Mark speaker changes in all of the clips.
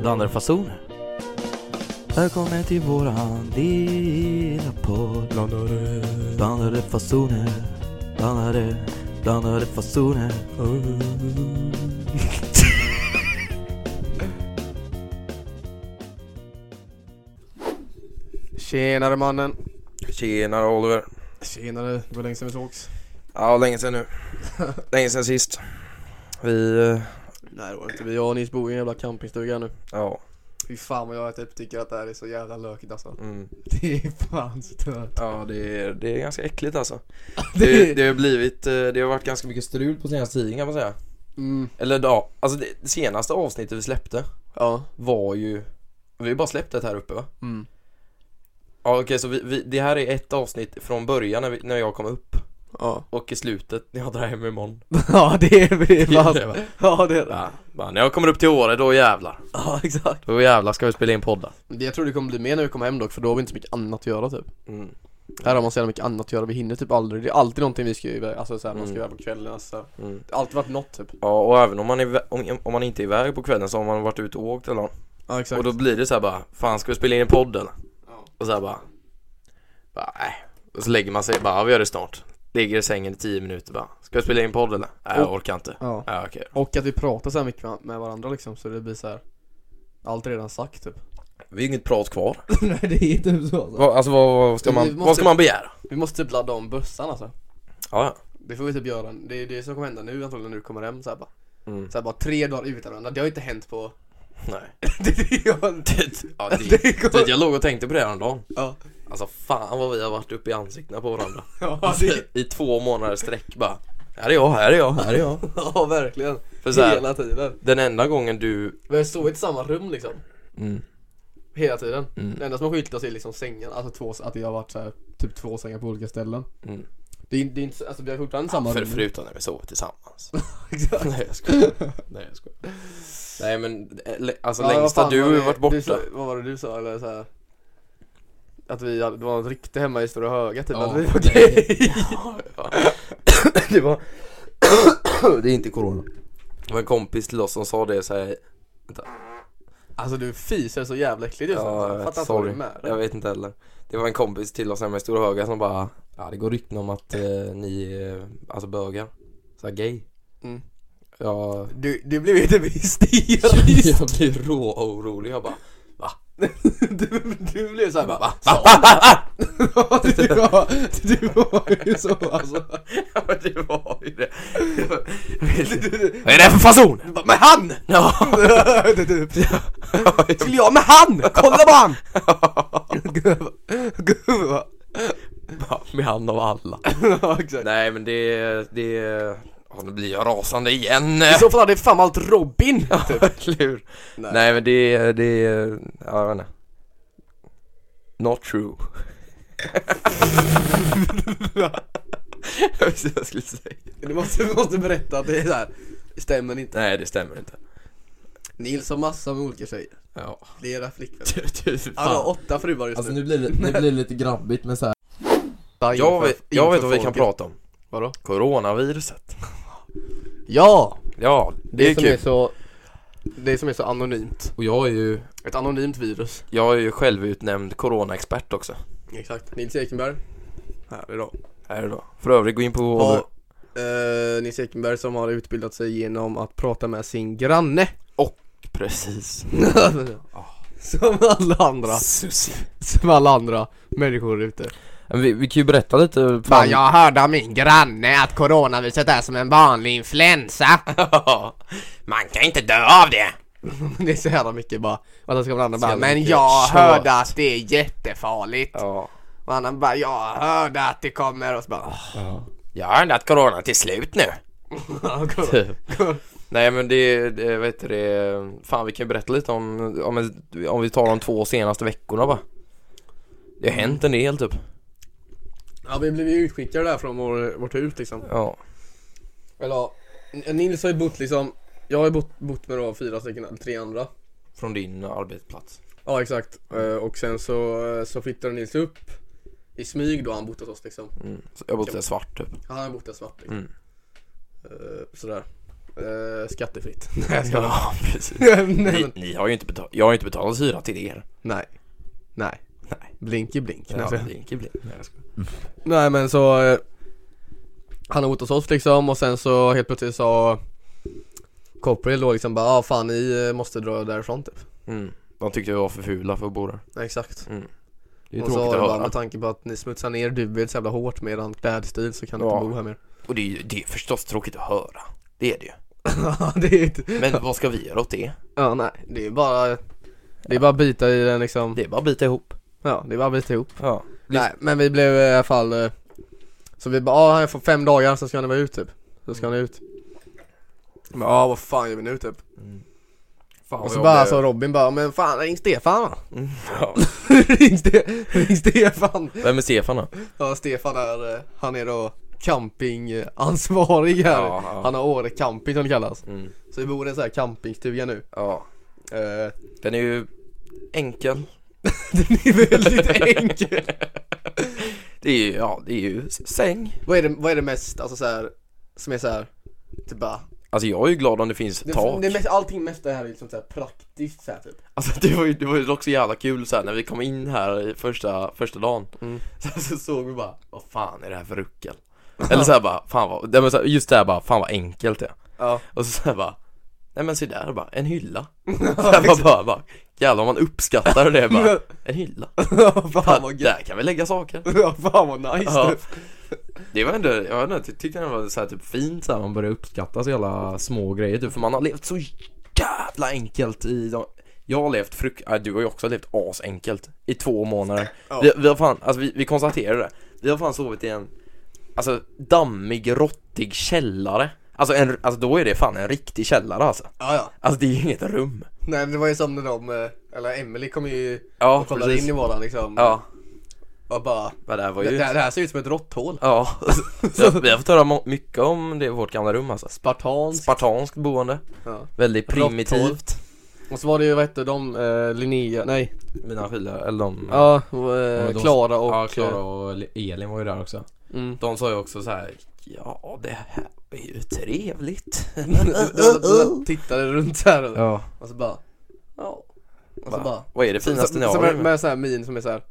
Speaker 1: Blandarfasoner. Välkommen till våran lilla podd.
Speaker 2: Blandare.
Speaker 1: Blandade fasoner. Blandade, blandade fasoner.
Speaker 2: Tjenare mannen.
Speaker 3: Tjenare Oliver.
Speaker 2: Tjenare, det var länge sedan vi sågs.
Speaker 3: Ja, länge sedan nu. Länge sedan sist. Vi, eh,
Speaker 2: Nej det var inte vi. Jag och Nils bor i en jävla campingstuga nu.
Speaker 3: ja.
Speaker 2: Fy fan vad jag typ tycker att det här är så jävla lökigt alltså.
Speaker 3: Mm.
Speaker 2: Det är fan stört.
Speaker 3: Ja, det är, det är ganska äckligt alltså.
Speaker 2: Det
Speaker 3: Det,
Speaker 2: är...
Speaker 3: det har blivit, eh, det har varit ganska mycket strul på senaste tiden kan man säga.
Speaker 2: Mm.
Speaker 3: Eller ja, alltså det, det senaste avsnittet vi släppte
Speaker 2: Ja.
Speaker 3: var ju, vi har bara släppt det här uppe va?
Speaker 2: Mm.
Speaker 3: Ja okej, så vi, vi, det här är ett avsnitt från början när, vi, när jag kom upp
Speaker 2: Ja.
Speaker 3: och i slutet när jag drar hem imorgon.
Speaker 2: ja det är det
Speaker 3: Det är
Speaker 2: fan.
Speaker 3: det, va?
Speaker 2: Ja det är det.
Speaker 3: Ja, bara, när jag kommer upp till Åre då jävlar.
Speaker 2: Ja exakt.
Speaker 3: Då jävlar ska vi spela in poddar.
Speaker 2: Det jag tror det kommer bli mer när vi kommer hem dock för då har vi inte så mycket annat att göra typ.
Speaker 3: Mm.
Speaker 2: Här har man så jävla mycket annat att göra. Vi hinner typ aldrig. Det är alltid någonting vi ska ju iväg. Alltså såhär man ska
Speaker 3: Mm.
Speaker 2: iväg på kvällen. Alltså.
Speaker 3: Mm.
Speaker 2: Det har alltid varit något typ.
Speaker 3: Ja och även om man, är, vä- om, om man inte är iväg på kvällen så har man varit ute och åkt eller nåt.
Speaker 2: Ja exakt.
Speaker 3: Och då blir det så här bara, fan ska vi spela in en podd eller?
Speaker 2: Ja.
Speaker 3: Och så här bara, bara nej. Och så lägger man sig, bara ja, vi gör det snart. Ligger i sängen i tio minuter bara, ska vi spela in podd eller? Nej jag orkar inte.
Speaker 2: ja.
Speaker 3: Ja okej.
Speaker 2: Och att vi pratar så här mycket med- med varandra liksom så det blir så här Allt är redan sagt typ
Speaker 3: Vi har inget prat kvar.
Speaker 2: Nej det är typ så alltså.
Speaker 3: Vad, alltså vad, vad, ska
Speaker 2: Vi
Speaker 3: man,
Speaker 2: måste-
Speaker 3: vad ska man begära?
Speaker 2: Vi måste typ ladda om bössan alltså
Speaker 3: Ja ja.
Speaker 2: Det får vi typ göra, det är det som kommer hända nu antagligen när du kommer hem så här bara
Speaker 3: Mm.
Speaker 2: så här bara tre dagar utan varandra, det har inte hänt på
Speaker 3: Nej.
Speaker 2: Det är ju-
Speaker 3: Det- ja, det,
Speaker 2: Det går-
Speaker 3: det, jag låg och tänkte på det häromdagen.
Speaker 2: Ja,
Speaker 3: Alltså fan vad vi har varit uppe i ansiktena på varandra.
Speaker 2: ja, det,
Speaker 3: I två månader sträck bara, här är jag, här är jag, här är jag.
Speaker 2: ja verkligen
Speaker 3: För så här,
Speaker 2: Hela tiden
Speaker 3: den enda gången du
Speaker 2: Vi har sovit i samma rum liksom
Speaker 3: Mm.
Speaker 2: Hela tiden
Speaker 3: Mm.
Speaker 2: Det enda som har skilt oss är liksom sängen, alltså två, att det har varit så här, typ två sängar på olika ställen
Speaker 3: Mm.
Speaker 2: Det är, det är inte, så- alltså vi har fortfarande samma
Speaker 3: För,
Speaker 2: rum
Speaker 3: förutom när vi sover tillsammans.
Speaker 2: Exakt.
Speaker 3: Nej jag skojar. Nej jag skojar. Nej men eller, alltså
Speaker 2: Ja, vad
Speaker 3: längsta
Speaker 2: fan
Speaker 3: du
Speaker 2: var
Speaker 3: har ju
Speaker 2: det-
Speaker 3: varit
Speaker 2: Du,
Speaker 3: borta.
Speaker 2: sa- vad var det du sa? Eller så här, att vi hade, det var något rykte hemma i Stora Höga typ,
Speaker 3: Ja.
Speaker 2: att vi var gay.
Speaker 3: det var... det är inte corona. Det var en kompis till oss som sa det såhär.
Speaker 2: Alltså du fiser så jävla äckligt just nu.
Speaker 3: Ja,
Speaker 2: alltså.
Speaker 3: jag vet,
Speaker 2: Fattar inte vad du
Speaker 3: sorry.
Speaker 2: är med
Speaker 3: Jag vet inte heller. Det var en kompis till oss hemma i Stora Höga som bara. Ja det går rykten om att eh, ni är alltså bögar. Såhär gay.
Speaker 2: Mm.
Speaker 3: Ja.
Speaker 2: Du, du blev ju typ hysterisk.
Speaker 3: Jag blir råorolig. Jag bara.
Speaker 2: Du, du blev såhär bara
Speaker 3: Va?
Speaker 2: "Sa du?" du, var, du var ju så alltså.
Speaker 3: Ja men det var ju det.
Speaker 2: Du, du,
Speaker 3: Vad är det för fason?
Speaker 2: du bara, men han!
Speaker 3: Ja.
Speaker 2: Du, du, Skulle jag med han? Kolla på han! Gud, gud vad-
Speaker 3: Med han av alla.
Speaker 2: Ja exakt.
Speaker 3: Nej men det, det, ja, nu blir jag rasande igen.
Speaker 2: I så fall hade fan allt Robin!
Speaker 3: Eller hur?
Speaker 2: Nej.
Speaker 3: Nej. men det, det, ja, jag vet inte. Not true. jag visste vad jag skulle säga.
Speaker 2: Du måste, du måste berätta att det är så här. stämmer inte.
Speaker 3: Nej det stämmer inte.
Speaker 2: Nils har massor med olika tjejer.
Speaker 3: Ja.
Speaker 2: Flera flickvänner.
Speaker 3: Du, du, fan. Alltså,
Speaker 2: Han har åtta fruar just nu.
Speaker 3: blir det, nu blir det lite grabbigt men så här.
Speaker 2: Inför-
Speaker 3: Jag vet, jag vet vad vi
Speaker 2: inför
Speaker 3: kan
Speaker 2: folket.
Speaker 3: prata om.
Speaker 2: Vadå?
Speaker 3: Coronaviruset.
Speaker 2: Ja!
Speaker 3: Ja, det,
Speaker 2: Det,
Speaker 3: är
Speaker 2: som
Speaker 3: kul.
Speaker 2: är så... Det som är så anonymt.
Speaker 3: Och jag är ju,
Speaker 2: Ett anonymt virus.
Speaker 3: jag är ju självutnämnd coronaexpert också.
Speaker 2: Exakt. Nils Ekenberg. Här idag.
Speaker 3: Här då. För övrigt, gå in på
Speaker 2: Och, eh, Nils Ekenberg som har utbildat sig genom att prata med sin granne.
Speaker 3: Precis.
Speaker 4: Ah.
Speaker 2: som alla andra.
Speaker 3: Susi.
Speaker 2: Som alla andra människor ute.
Speaker 3: Vi, vi kan ju berätta lite. Fan,
Speaker 4: Fan, jag hörde av min granne att coronaviruset är som en vanlig influensa. Man kan inte dö av det.
Speaker 2: Det är så jävla mycket bara, och då ska man andra bara
Speaker 3: jävla
Speaker 2: men
Speaker 3: mycket
Speaker 2: jag
Speaker 3: tjat."
Speaker 2: hörde
Speaker 4: Hörde att det är jättefarligt.
Speaker 3: Ja.
Speaker 4: Och annan bara, jag hörde att det kommer och så bara, "Åh,
Speaker 3: Jag har ändrat corona till slut nu. Typ. Nej men det, det, vad heter det, fan vi kan ju berätta lite om, om, om vi tar de två senaste veckorna bara. Det har hänt en del typ.
Speaker 2: Ja vi blev ju utskickade där från vår, vårt hus liksom
Speaker 3: Ja.
Speaker 2: Eller ja, N- Nils har ju bott liksom Jag har ju bott, bott med då fyra stycken, eller tre andra
Speaker 3: Från din arbetsplats.
Speaker 2: Ja exakt, Eh, och sen så, eh, så flyttade Nils upp I smyg då har han bott hos oss liksom
Speaker 3: Mm. Så jag bodde svart typ.
Speaker 2: Han har bott där svart liksom
Speaker 3: Mm.
Speaker 2: Eh, Sådär Eh, skattefritt.
Speaker 3: Ja, precis.
Speaker 2: Nej,
Speaker 3: Ni,
Speaker 2: men-
Speaker 3: ni har ju inte betalat, jag har ju inte betalat hyra till er.
Speaker 2: nej. Nej.
Speaker 3: Nej.
Speaker 2: Blinky blink.
Speaker 3: Ja,
Speaker 2: Nej,
Speaker 3: blinky, blink. Nej, jag skojar.
Speaker 2: Nej men så eh, Han har bott hos oss liksom och sen så helt plötsligt sa Copperhill då liksom bara ah, fan ni eh, måste dra därifrån typ
Speaker 3: Mm. De tyckte vi var för fula för att bo där. Mm.
Speaker 2: Exakt
Speaker 3: Det är ju
Speaker 2: Och så
Speaker 3: tråkigt att
Speaker 2: bara,
Speaker 3: höra.
Speaker 2: med tanke på att ni smutsar ner dubbelt så jävla hårt med eran klädstil så kan ni
Speaker 3: Ja.
Speaker 2: inte bo här mer
Speaker 3: Och det är, ju- det är förstås tråkigt att höra. Det är det ju.
Speaker 2: Ja det är inte
Speaker 3: Men vad ska vi göra åt det?
Speaker 2: Ja nej det är bara Det är bara att bita i den liksom
Speaker 3: Det är bara att bita ihop.
Speaker 2: Ja det är bara att bita ihop
Speaker 3: Ja.
Speaker 2: Nej men vi blev i alla fall eh, Så vi bara ah, jag får fem dagar sen ska ni vara ut typ Så
Speaker 3: Mm.
Speaker 2: ska ni ut Men ja ah, vad fan gör vi nu typ Och
Speaker 3: Fan vad
Speaker 2: så
Speaker 3: jag
Speaker 2: bara
Speaker 3: blev-
Speaker 2: så Robin bara, men fan ring Stefan va?
Speaker 3: Mm, ja.
Speaker 2: ring, Ste- ring Stefan!
Speaker 3: Vem är Stefan då?
Speaker 2: Ja Stefan är, eh, han är då campingansvarig här
Speaker 3: Ja, ja.
Speaker 2: Han har Åre camping som det kallas
Speaker 3: Mm.
Speaker 2: Så vi bor i en sån här campingstuga nu
Speaker 3: Ja.
Speaker 2: Eh,
Speaker 3: Den är ju enkel.
Speaker 2: Den är väldigt enkel
Speaker 3: Det är ju, ja, det är ju s- säng.
Speaker 2: vad, är det, vad är det mest, alltså så här, som är så här, typ bara
Speaker 3: Alltså jag är ju glad om det finns
Speaker 2: det,
Speaker 3: tak.
Speaker 2: det mest, Allting mest är här liksom så här praktiskt så här typ
Speaker 3: Alltså det var ju, det var ju också jävla kul så här, när vi kom in här i första, första dagen
Speaker 2: Mm.
Speaker 3: så, så såg vi bara, vad fan är det här för ruckel? Eller såhär bara, fan vad, nej, men så här, just det här bara, fan vad enkelt det är.
Speaker 2: Ja
Speaker 3: Och så såhär bara, nej men se där bara, en hylla. Så här, bara, bara, bara, jävlar om man uppskattar det bara, en hylla.
Speaker 2: Fan vad gött
Speaker 3: där kan vi lägga saker.
Speaker 2: Ja, Fan vad nice
Speaker 3: Ja.
Speaker 2: typ.
Speaker 3: Det var ändå, jag vet inte, jag tyckte det var så här typ fint så här, man börjar uppskatta så jävla små grejer typ, för man har levt så jävla enkelt i de jag har levt fruk... Äh, du har ju också levt asenkelt i två månader.
Speaker 2: Ja.
Speaker 3: Vi, vi har fan, alltså vi, vi konstaterade det. Vi har fan sovit i en, alltså dammig, råttig källare. Alltså, en, alltså då är det fan en riktig källare alltså.
Speaker 2: Ja ja
Speaker 3: Alltså det är ju inget rum.
Speaker 2: Nej det var ju som när de, eh, eller Emily kom ju
Speaker 3: Ja,
Speaker 2: och kollade in i våran liksom
Speaker 3: Ja,
Speaker 2: och bara
Speaker 3: men det här var
Speaker 2: det,
Speaker 3: ju...
Speaker 2: det här det här ser ut som ett råtthål
Speaker 3: Ja, vi har, vi har fått höra mo- mycket om det i vårt gamla rum alltså.
Speaker 2: Spartans
Speaker 3: Spartanskt boende.
Speaker 2: ja.
Speaker 3: Väldigt
Speaker 2: Råtthål.
Speaker 3: primitivt
Speaker 2: Och så var det ju vad hette de, eh, Linnea, nej
Speaker 3: Mina skiljer, eller de
Speaker 2: Ja, och,
Speaker 3: men
Speaker 2: eh,
Speaker 3: de-
Speaker 2: Klara och
Speaker 3: ja, Klara och Elin var ju där också
Speaker 2: Mm.
Speaker 3: De sa ju också så här. Ja det här är ju trevligt
Speaker 2: De- de- de Tittade runt så här
Speaker 3: Ja
Speaker 2: och så bara Ja Och så bara
Speaker 3: Vad är det finaste ni har?
Speaker 2: Som är- Med sån här min som är så här.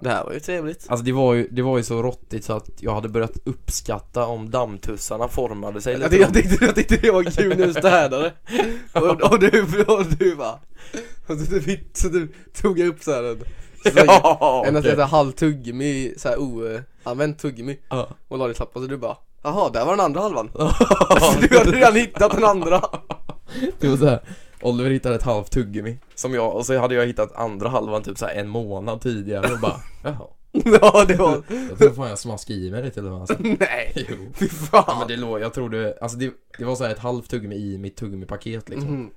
Speaker 2: Det här var ju trevligt
Speaker 3: Alltså det var, ju, det var ju så råttigt så att jag hade börjat uppskatta om dammtussarna formade sig
Speaker 2: jag tyckte,
Speaker 3: lite
Speaker 2: jag, tyckte, jag tyckte det var kul när du städade och, och du, och du bara Och så du, så du tog jag upp så här en
Speaker 3: Ja,
Speaker 2: En att
Speaker 3: okej.
Speaker 2: äta halv tuggummi, såhär oanvänt tuggummi
Speaker 3: Ja.
Speaker 2: och la det i trappan så du bara Jaha, där var den andra halvan. alltså, du hade redan hittat den andra.
Speaker 3: Det var såhär, Oliver hittade ett halvt tuggummi Som jag, och så hade jag hittat andra halvan typ såhär en månad tidigare och bara Jaha,
Speaker 2: ja, det var...
Speaker 3: jag tror fan jag smaskade i mig det till och med alltså.
Speaker 2: Nej,
Speaker 3: Jo
Speaker 2: fy
Speaker 3: Ja, men
Speaker 2: fan.
Speaker 3: det låg, jag trodde, alltså det, det var så här ett halvt tuggummi i mitt tuggummipaket liksom.
Speaker 2: Mm.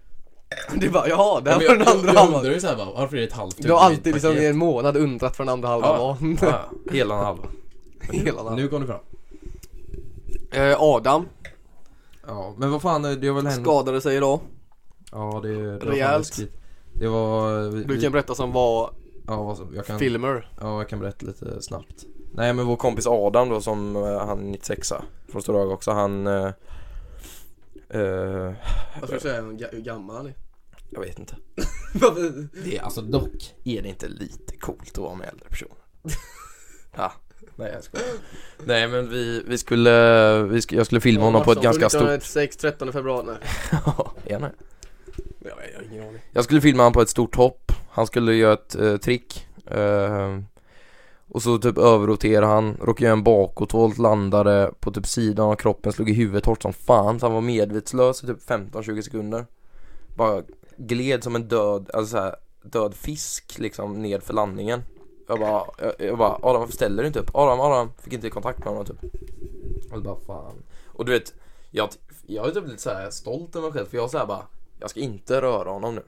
Speaker 2: Du bara, jaha, där
Speaker 3: Ja, men
Speaker 2: var den
Speaker 3: jag,
Speaker 2: andra
Speaker 3: jag, jag
Speaker 2: halvan.
Speaker 3: undrar ju såhär bara, varför är det ett halvt tuggummi
Speaker 2: Du har alltid liksom i
Speaker 3: paket?
Speaker 2: en månad undrat vad den andra halvan
Speaker 3: Ja.
Speaker 2: var.
Speaker 3: Ja, hela en halva.
Speaker 2: Hela den.
Speaker 3: Nu kom det fram.
Speaker 2: Eh, Adam
Speaker 3: Ja, men vad fan, det har väl hänt?
Speaker 2: skadade sig idag.
Speaker 3: Ja, det, det var fan
Speaker 2: Rejält.
Speaker 3: läskigt. Det var... Vi,
Speaker 2: Du kan berätta som var
Speaker 3: ja, vad som- jag kan,
Speaker 2: filmer.
Speaker 3: ja, jag kan berätta lite snabbt. Nej, men vår kompis Adam då som, eh, han är 96 från Stora Haga också, han... Eh, eh,
Speaker 2: Vad ska du säga, hur gammal han är?
Speaker 3: jag vet inte. Det är alltså dock är det inte lite coolt att vara med äldre personer? ja, nej jag skojar. Nej men vi, vi skulle, vi sk- jag skulle filma honom på ett ganska stort...
Speaker 2: 1996, 13 februari. Nej.
Speaker 3: Ja, är han här?
Speaker 2: Jag vet, jag har ingen aning.
Speaker 3: jag skulle filma honom på ett stort hopp, han skulle göra ett eh, trick. Eh, och så typ överroterade han, råkade göra en bakåtvolt, landade på typ sidan av kroppen, slog i huvudet hårt som fan så han var medvetslös i typ 15-20 sekunder. Bara gled som en död, alltså så här, död fisk liksom ned för landningen. Jag bara, jag, jag bara Adam varför ställer du inte upp? Adam, Adam, fick inte kontakt med honom typ. Och bara fan. Och du vet, jag, jag är typ lite så här stolt över mig själv för jag såhär bara, jag ska inte röra honom nu.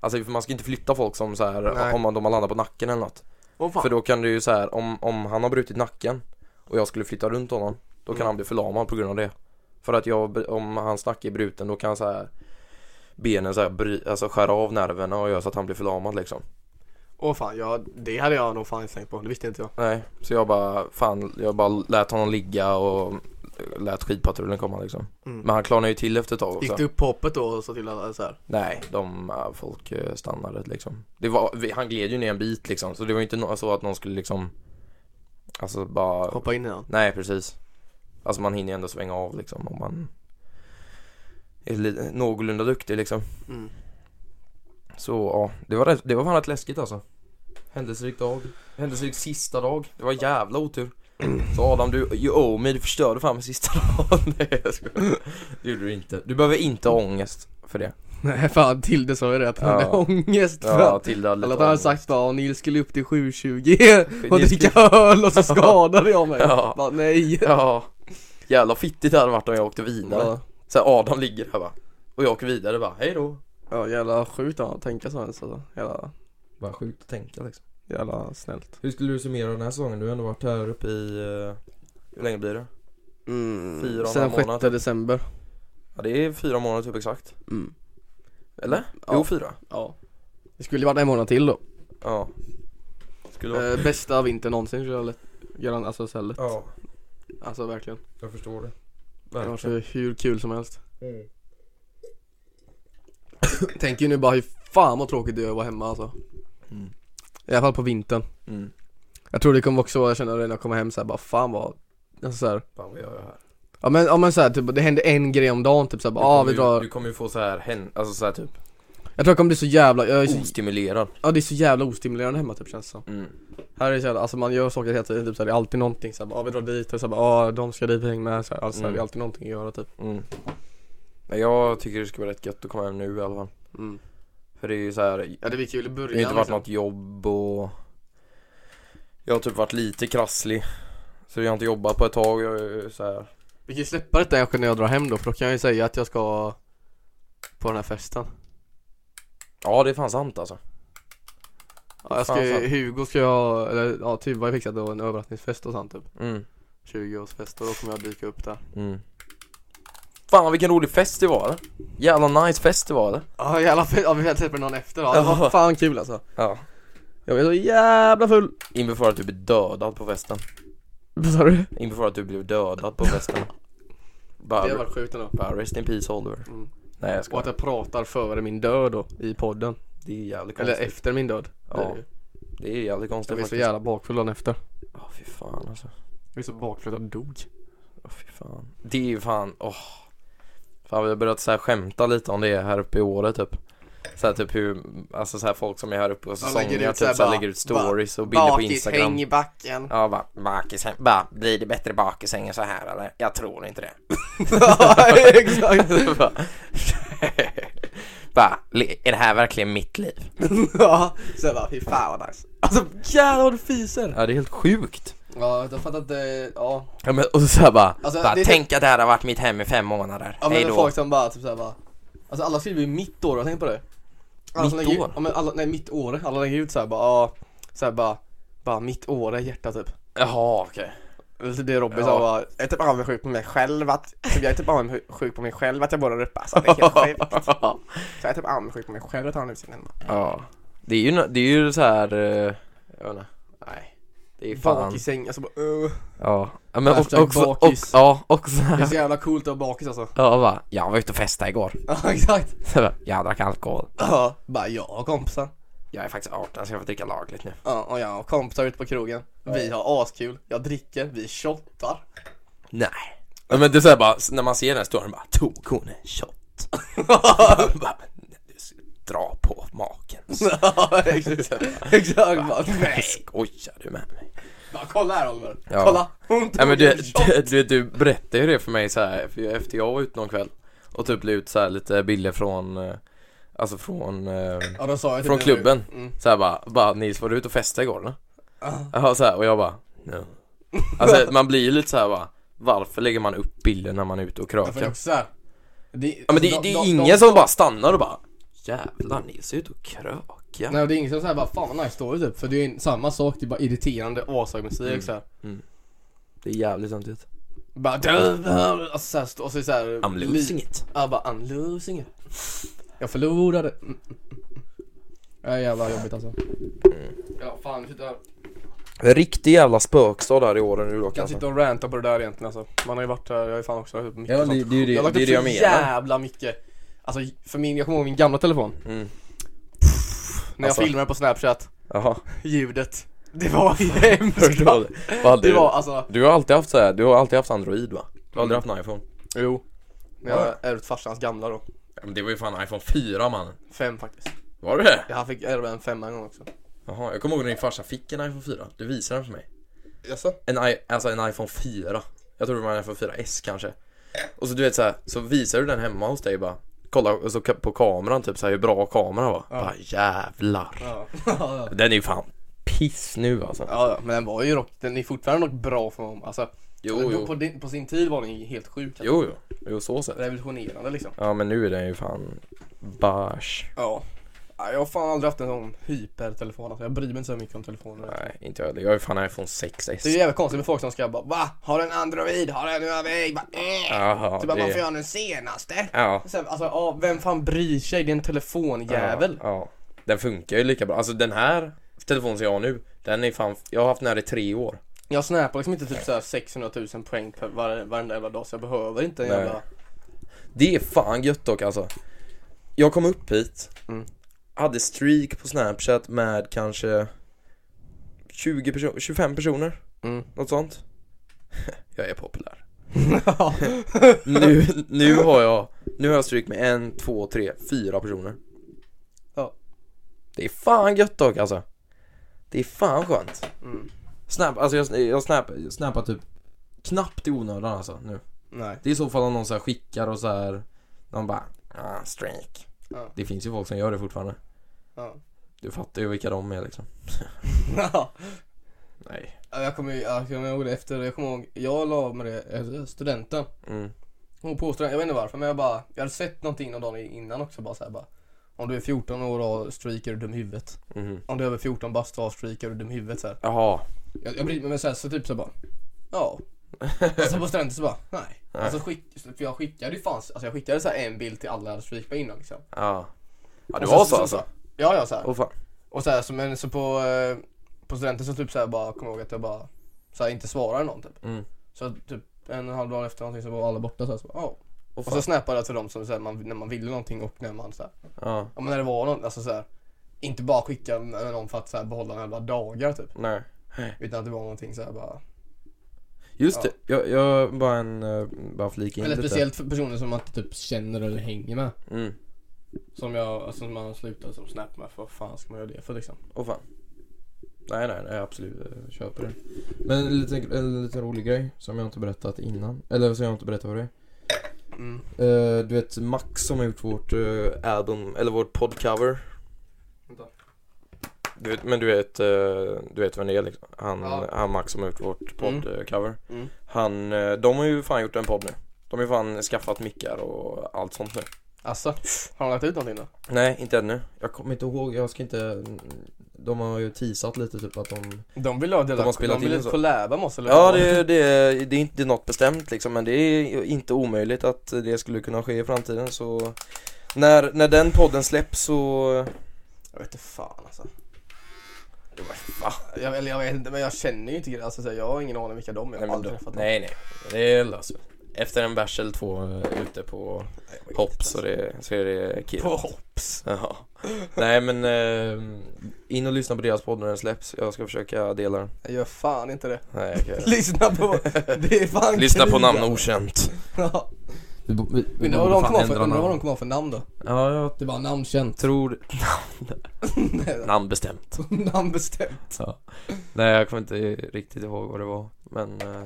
Speaker 3: Alltså för man ska inte flytta folk som så här
Speaker 2: Nej.
Speaker 3: om man, de har landat på nacken eller något.
Speaker 2: Åh fan.
Speaker 3: För då kan du ju så här, om, om han har brutit nacken och jag skulle flytta runt honom, då kan
Speaker 2: Mm.
Speaker 3: han bli förlamad på grund av det. För att jag, om hans nacke är bruten, då kan så här benen så här, bry, alltså skära av nerverna och göra så att han blir förlamad liksom.
Speaker 2: Åh fan, ja, det hade jag nog fan inte tänkt på. Det visste inte jag.
Speaker 3: Nej, så jag bara, fan, jag bara lät honom ligga och lät skidpatrullen komma liksom.
Speaker 2: Mm.
Speaker 3: Men han klarnade ju till efter ett tag också.
Speaker 2: Gick du upp på hoppet då och sa till alla så här?
Speaker 3: Nej, de, äh, folk eh, stannade liksom. Det var, vi- han gled ju ner en bit liksom, så det var ju inte nå- så att någon skulle liksom, alltså bara,
Speaker 2: Hoppa in i den?
Speaker 3: nej precis. Alltså man hinner ju ändå svänga av liksom om man är li- någorlunda duktig liksom.
Speaker 2: Mm.
Speaker 3: Så ja, det var, rätt, det var fan rätt läskigt alltså. Händelserik dag, händelserik sista dag. Det var jävla otur. Så Adam, du, you owe me, du förstörde fan min sista dag. Nej jag skojar. Det gjorde du inte. Du behöver inte ha ångest för det.
Speaker 2: Nej fan, Tilde sa ju det att han
Speaker 3: Ja.
Speaker 2: hade ångest för
Speaker 3: Ja,
Speaker 2: att
Speaker 3: Tilda hade
Speaker 2: Eller
Speaker 3: lite
Speaker 2: att han hade
Speaker 3: ångest.
Speaker 2: sagt att Nils skulle upp till 7.20 och
Speaker 3: Nils
Speaker 2: dricka öl och så skadade jag mig.
Speaker 3: Ja.
Speaker 2: Bara, nej.
Speaker 3: Ja, jävla fittigt det hade varit om jag åkte vidare.
Speaker 2: Ja.
Speaker 3: Så här, Adam ligger där va. Och jag åker vidare va, hej då.
Speaker 2: Ja jävla sjukt att tänka så ens alltså. Jävla,
Speaker 3: Bara sjukt att tänka liksom.
Speaker 2: jävla snällt.
Speaker 3: Hur skulle du summera den här säsongen? Du har ändå varit här uppe i, eh, hur länge blir det?
Speaker 2: Mm.
Speaker 3: Fyra och en
Speaker 2: Sen
Speaker 3: halv
Speaker 2: 6
Speaker 3: månad.
Speaker 2: december.
Speaker 3: Ja det är fyra månader typ exakt.
Speaker 2: Mm.
Speaker 3: Eller?
Speaker 2: Ja.
Speaker 3: Jo fyra.
Speaker 2: Ja. Det skulle ju varit en månad till då.
Speaker 3: Ja. Skulle vara...
Speaker 2: Eh, bästa vintern någonsin skulle jag lätt göra en, alltså så här lätt.
Speaker 3: Ja,
Speaker 2: Alltså verkligen.
Speaker 3: jag förstår det.
Speaker 2: Det har varit hur kul som helst. Tänk ju nu bara hur fan vad tråkigt det är att vara hemma alltså.
Speaker 3: Mm.
Speaker 2: I alla fall på vintern.
Speaker 3: Mm.
Speaker 2: Jag tror det kommer också, jag känner det när jag kommer hem såhär bara fan vad, alltså så här,
Speaker 3: Fan vad gör jag här?
Speaker 2: Ja men, ja, men såhär typ, det händer en grej om dagen typ såhär bara,
Speaker 3: Du
Speaker 2: ah,
Speaker 3: kommer
Speaker 2: vi
Speaker 3: ju-
Speaker 2: drar
Speaker 3: Du kommer ju få så här, hän- alltså så här typ
Speaker 2: Jag tror jag kommer bli så jävla, jag är så,
Speaker 3: ostimulerad.
Speaker 2: ja, det är så jävla ostimulerande hemma typ känns det som
Speaker 3: Mm.
Speaker 2: Här är det så jävla, alltså man gör saker hela tiden typ såhär, det är alltid någonting såhär, bara, ah, vi drar dit och såhär, bara, ah, de ska dit vi hänger med såhär, alltså
Speaker 3: Mm.
Speaker 2: det är alltid någonting att göra typ
Speaker 3: Mm. Men Jag tycker det ska vara rätt gött att komma hem nu i alla fall. För det är ju så här,
Speaker 2: Mm. Ja det blir kul i
Speaker 3: Det
Speaker 2: början liksom.
Speaker 3: har inte varit något jobb och Jag har typ varit lite krasslig Så jag har inte jobbat på ett tag, jag är så här.
Speaker 2: Vi kan ju släppa detta kanske när jag drar hem då, för då kan jag ju säga att jag ska på den här festen
Speaker 3: Ja det är fan sant alltså
Speaker 2: ja, jag ska,
Speaker 3: Fan, fan.
Speaker 2: Hugo ska jag, eller ja Tuva har fixat då en överraskningsfest och sånt typ
Speaker 3: mm.
Speaker 2: 20-årsfest och då kommer jag dyka upp där
Speaker 3: Mm. Fan vilken rolig fest det var eller? Jävla nice fest det var eller?
Speaker 2: Ja jävla fett, ja, vi hade träffat någon efter ja. det var
Speaker 3: Ja.
Speaker 2: fan kul alltså
Speaker 3: Ja
Speaker 2: Jag blev så jävla full
Speaker 3: Inför för att du blev dödad på festen
Speaker 2: Vad sa du?
Speaker 3: Inför för att du blev dödad på festen
Speaker 2: Det har
Speaker 3: bara,
Speaker 2: varit sjukt ändå
Speaker 3: bara rest in peace Oliver
Speaker 2: Mm.
Speaker 3: Nej jag
Speaker 2: Och att
Speaker 3: skojar
Speaker 2: jag pratar före min död då, i podden
Speaker 3: Det är jävligt
Speaker 2: Eller
Speaker 3: konstigt
Speaker 2: efter min död
Speaker 3: Ja,
Speaker 2: det,
Speaker 3: Det är jävligt
Speaker 2: Jag
Speaker 3: konstigt
Speaker 2: blev så
Speaker 3: faktiskt
Speaker 2: jävla bakfull dagen efter Jag
Speaker 3: Ja fy fan alltså
Speaker 2: blev så bakfull att jag dog
Speaker 3: Åh, fy fan. Det är ju fan, åh. Fan vi har börjat så här skämta lite om det här uppe i året typ. Så här typ hur, alltså så här folk som är här uppe och
Speaker 2: Ja, lägger ut
Speaker 3: säsonger typ
Speaker 2: så
Speaker 3: så
Speaker 2: här
Speaker 3: här,
Speaker 2: bara,
Speaker 3: lägger ut stories och bilder på Instagram.
Speaker 2: i backen
Speaker 3: Ja bara, bakishäng, bara blir det bättre bakishäng än så här eller? Jag tror inte det.
Speaker 2: Ja exakt
Speaker 3: bara, bara, le- är det här verkligen mitt liv?
Speaker 2: Ja, så jag bara fy fan vad nice Alltså jävlar vad du fiser
Speaker 3: Ja det är helt sjukt.
Speaker 2: Ja jag fattar inte, ja
Speaker 3: Ja men och så här bara,
Speaker 2: Alltså,
Speaker 3: bara
Speaker 2: det är-
Speaker 3: tänk att det här har varit mitt hem i fem månader.
Speaker 2: Ja men
Speaker 3: Hej
Speaker 2: det är
Speaker 3: då.
Speaker 2: folk som bara typ såhär bara Alltså alla skriver ju mitt år, har du tänkt på det? Alla som
Speaker 3: Mitt
Speaker 2: lägger,
Speaker 3: år?
Speaker 2: Ja men alla, nej mitt år, alla lägger ut såhär bara, ja Såhär bara, bara mitt år är hjärta typ
Speaker 3: Jaha okej.
Speaker 2: Eller typ det Robin
Speaker 3: Ja.
Speaker 2: sa bara, jag är typ avundsjuk på mig själv att, typ, jag är typ avundsjuk på mig själv att jag bor där uppe alltså, det är helt sjukt Så jag är typ avundsjuk på mig själv att ha en utsikt hemma
Speaker 3: Ja Det är ju, nå- det är ju så här eh, Jag vet inte Nej Det är fan
Speaker 2: Bak i säng, alltså bara uh.
Speaker 3: Ja Ja, men och,
Speaker 2: Hashtag
Speaker 3: också, och,
Speaker 2: bakis.
Speaker 3: ja också
Speaker 2: Det är
Speaker 3: här
Speaker 2: så jävla coolt att vara bakis alltså
Speaker 3: Ja va Jag var ute och festade igår
Speaker 2: Ja exakt
Speaker 3: Så bara, Jag drack alkohol
Speaker 2: Ja, bara jag och kompisar
Speaker 3: Jag är faktiskt 18 så jag får dricka lagligt nu
Speaker 2: Ja, och jag och kompisar ute på krogen. Vi har askul, jag dricker, vi shottar.
Speaker 3: Nej ja, Men det är såhär bara s- När man ser den här storyn bara Tog hon en shot? Bara, "Nej, du ska Dra på maken
Speaker 2: exakt, exakt bara, nej.
Speaker 3: Skojar du med mig?
Speaker 2: Bara, kolla här Oliver,
Speaker 3: Ja.
Speaker 2: kolla. Hon
Speaker 3: Nej men
Speaker 2: tog
Speaker 3: du,
Speaker 2: en shot.
Speaker 3: du, du, du berättade ju det för mig så här, för jag- efter jag var ute någon kväll och typ la ut så här lite bilder från, eh, alltså från, eh,
Speaker 2: Ja, då sa jag typ
Speaker 3: från
Speaker 2: det.
Speaker 3: klubben.
Speaker 2: Mm.
Speaker 3: Så här bara, bara Nils var du ute och festade igår eller?
Speaker 2: Ah.
Speaker 3: Ja så här, och jag bara, no. Alltså man blir ju lite så här bara, varför lägger man upp bilder när man är ute och
Speaker 2: Ja, för det är
Speaker 3: krökar?
Speaker 2: också så här. Det,
Speaker 3: Ja men det,
Speaker 2: de-
Speaker 3: det
Speaker 2: de-
Speaker 3: är
Speaker 2: de-
Speaker 3: ingen som bara stannar och bara, jävlar Nils är ute och krökar.
Speaker 2: Nej det är ingen som säger bara fan vad nice story typ för det är ju samma sak, det är bara irriterande ashög musik
Speaker 3: Mm.
Speaker 2: såhär
Speaker 3: Det är jävligt samtidigt.
Speaker 2: Bara dö, dö, alltså såhär, stå- och så är det såhär
Speaker 3: I'm losing it.
Speaker 2: Ja bara I'm losing it Jag förlorade mm. Ja jävla jobbigt alltså Ja fan, sitter här
Speaker 3: En riktig jävla spökstad där i åren nu då
Speaker 2: Jag kan
Speaker 3: kanske.
Speaker 2: sitta och ranta på det där egentligen alltså. Man har ju varit här, jag har ju fan också lagt upp mycket
Speaker 3: Ja,
Speaker 2: sånt.
Speaker 3: det, det är ju det,
Speaker 2: Jag har lagt
Speaker 3: det, är
Speaker 2: upp
Speaker 3: det jag
Speaker 2: så
Speaker 3: menar.
Speaker 2: jävla mycket Alltså för min, jag kommer ihåg min gamla telefon
Speaker 3: Mm.
Speaker 2: När
Speaker 3: Alltså.
Speaker 2: jag filmade på snapchat,
Speaker 3: Jaha,
Speaker 2: ljudet Det var
Speaker 3: förstår
Speaker 2: hemskt
Speaker 3: det. Vad hade
Speaker 2: Det
Speaker 3: du?
Speaker 2: var alltså,
Speaker 3: Du har alltid haft så här, du har alltid haft Android va? Du har aldrig haft en iPhone?
Speaker 2: jo Men jag ärvt farsans gamla då
Speaker 3: Ja, men det var ju fan iPhone 4 mannen.
Speaker 2: Fem faktiskt
Speaker 3: Var det det?
Speaker 2: Ja, Han fick ärva en femma en gång också
Speaker 3: Jaha, jag kommer ihåg när din farsa fick en iPhone 4. Du visade den för mig.
Speaker 2: Jaså?
Speaker 3: En, i- alltså en iPhone 4. Jag tror det var en iPhone 4S kanske. Och så du vet så här, så visar du den hemma hos dig bara. Kolla och så ka- på kameran typ så här hur bra kameran var. Bara jävlar.
Speaker 2: Ja. ja,
Speaker 3: Den är ju fan piss nu alltså.
Speaker 2: ja, men den var ju dock, den är fortfarande dock bra för honom Alltså,
Speaker 3: Jo,
Speaker 2: men då
Speaker 3: jo.
Speaker 2: På, din, på sin tid var den ju helt sjuk alltså.
Speaker 3: Jo, jo. Jo, så sett.
Speaker 2: Revolutionerande liksom
Speaker 3: Ja, men nu är den ju fan bärs.
Speaker 2: Ja Ja, Jag har fan aldrig haft en sån hypertelefon alltså. jag bryr mig inte så mycket om telefoner
Speaker 3: Nej, inte jag heller. Jag har ju fan iPhone
Speaker 2: Det är ju
Speaker 3: 6S.
Speaker 2: jävligt konstigt med folk som ska bara Va? Har du en Android? Har du en Huawei? Bara, äh.
Speaker 3: Jaha,
Speaker 2: typ bara, varför
Speaker 3: det...
Speaker 2: har du den senaste?
Speaker 3: Ja.
Speaker 2: Så, här, alltså, ja, vem fan bryr sig? Det är en telefonjävel.
Speaker 3: Ja, ja. Den funkar ju lika bra. Alltså den här telefonen som jag har nu, den är fan, jag har haft den här i tre år.
Speaker 2: Jag snappar liksom inte typ så här 600 000 poäng per var, varenda jävla dag så jag behöver inte en
Speaker 3: Nej.
Speaker 2: jävla...
Speaker 3: Det är fan gött dock alltså. Jag kom upp hit,
Speaker 2: Mm.
Speaker 3: hade streak på snapchat med kanske 20 personer, 25 personer,
Speaker 2: Mm.
Speaker 3: något sånt. Jag är populär. Mm. Nu, nu har jag, nu har jag stryk med en, två, tre, fyra personer.
Speaker 2: Ja.
Speaker 3: Det är fan gött dock alltså. Det är fan skönt.
Speaker 2: Mm.
Speaker 3: Snap, alltså jag, jag, snap, jag snappar typ knappt i onödan alltså nu.
Speaker 2: Nej.
Speaker 3: Det är i så fall om någon så här skickar och så här någon bara ah, streak.
Speaker 2: Ja.
Speaker 3: Det finns ju folk som gör det fortfarande.
Speaker 2: Ja.
Speaker 3: Du fattar ju vilka de är liksom.
Speaker 2: Ja,
Speaker 3: Nej.
Speaker 2: jag kommer ju- jag kommer ihåg det efter, jag kommer ihåg, jag la av med det efter studenten.
Speaker 3: Mm.
Speaker 2: Hon påstod, jag vet inte varför men jag bara, jag hade sett någonting någon dag innan också bara så här, bara. Om du är 14 år och har streak är du dum i huvudet.
Speaker 3: Mhm.
Speaker 2: Om du är över 14 bast och har streak är du dum i huvudet så här.
Speaker 3: Jaha.
Speaker 2: Jag, jag bryr mig men så, här, så typ så bara Ja Och sen på stranden så bara nej,
Speaker 3: Nej.
Speaker 2: Alltså skick, för jag skickade ju fanns, alltså jag skickade så här en bild till alla jag hade stryk på innan liksom
Speaker 3: Ja. Ja det
Speaker 2: Och sen
Speaker 3: var så alltså.
Speaker 2: Ja ja så här.
Speaker 3: Åh fan.
Speaker 2: och så här så, men så på, eh, på studenten så typ så här bara kom jag ihåg att jag bara så här, inte svarade någon typ
Speaker 3: Mm.
Speaker 2: Så typ en och en halv dag efter någonting så var alla borta så här, så bara, ja
Speaker 3: Åh
Speaker 2: Och så
Speaker 3: fan.
Speaker 2: snappade jag till dem som så här, man, när man ville någonting och när man så här,
Speaker 3: Ja.
Speaker 2: ja men när det var någon, alltså så här Inte bara skicka med någon för att så här, behålla några jävla dagar typ
Speaker 3: Nej.
Speaker 2: Utan att det var någonting så här bara
Speaker 3: Just
Speaker 2: Ja.
Speaker 3: det, jag, jag bara en, eh, bara flika in
Speaker 2: Eller
Speaker 3: lite.
Speaker 2: speciellt för personer som man inte typ känner eller hänger med.
Speaker 3: Mm.
Speaker 2: Som jag, alltså som man slutar som snap med. För vad fan ska man göra det för liksom?
Speaker 3: Åh fan. Nej, nej, nej, absolut. Jag köper det. Men en liten, en liten rolig grej som jag inte berättat innan. Eller som jag inte berättat för dig.
Speaker 2: Mm.
Speaker 3: Eh, du vet Max som har gjort vårt eh, album, eller vårt podcover.
Speaker 2: Vänta.
Speaker 3: Du vet, men du vet, eh, du vet vem det är liksom. Han,
Speaker 2: Ja.
Speaker 3: han Max som har gjort vårt podcover.
Speaker 2: Mm.
Speaker 3: Han, eh, de har ju fan gjort en podd nu. De har ju fan skaffat mickar och allt sånt nu.
Speaker 2: Alltså, har han lagt ut någonting då?
Speaker 3: Nej, inte ännu. Jag kommer inte ihåg, jag ska inte... De har ju teasat lite typ att de
Speaker 2: De vill ha
Speaker 3: De har spelat
Speaker 2: de
Speaker 3: in
Speaker 2: vill
Speaker 3: och så.
Speaker 2: collaba med oss eller?
Speaker 3: Ja
Speaker 2: vad?
Speaker 3: det, det, det är inte något bestämt liksom men det är inte omöjligt att det skulle kunna ske i framtiden så När, när den podden släpps så
Speaker 2: Jag vet inte fan alltså.
Speaker 3: Det var- va?
Speaker 2: Jag, eller jag vet inte men jag känner ju inte grejer. Alltså, så här, jag har ingen aning vilka de är. Jag
Speaker 3: Nej,
Speaker 2: har
Speaker 3: men
Speaker 2: aldrig
Speaker 3: då,
Speaker 2: träffat dem.
Speaker 3: nej nej, det löser vi. Efter en bärs eller två eh, ute på
Speaker 2: Nej, jag vet
Speaker 3: hopp
Speaker 2: inte.
Speaker 3: så, det, så är det kul
Speaker 2: På Hopps.
Speaker 3: Jaha. Nej men eh, in och lyssna på deras podd när den släpps, jag ska försöka dela den
Speaker 2: Jag gör fan inte det.
Speaker 3: Nej, jag kan göra det.
Speaker 2: Lyssna på, det är fan
Speaker 3: Lyssna på
Speaker 2: kul,
Speaker 3: namn
Speaker 2: alltså.
Speaker 3: okänt
Speaker 2: Ja.
Speaker 3: vi, bo- vi, vi
Speaker 2: Undrar vad de
Speaker 3: fan
Speaker 2: kommer ha för-
Speaker 3: ändra
Speaker 2: undrar vad de
Speaker 3: namn.
Speaker 2: kommer ha för namn då?
Speaker 3: Ja jag
Speaker 2: Det är bara namnkänt.
Speaker 3: tror namn bestämt
Speaker 2: namn bestämt.
Speaker 3: Så. Nej jag kommer inte riktigt ihåg vad det var Men eh, det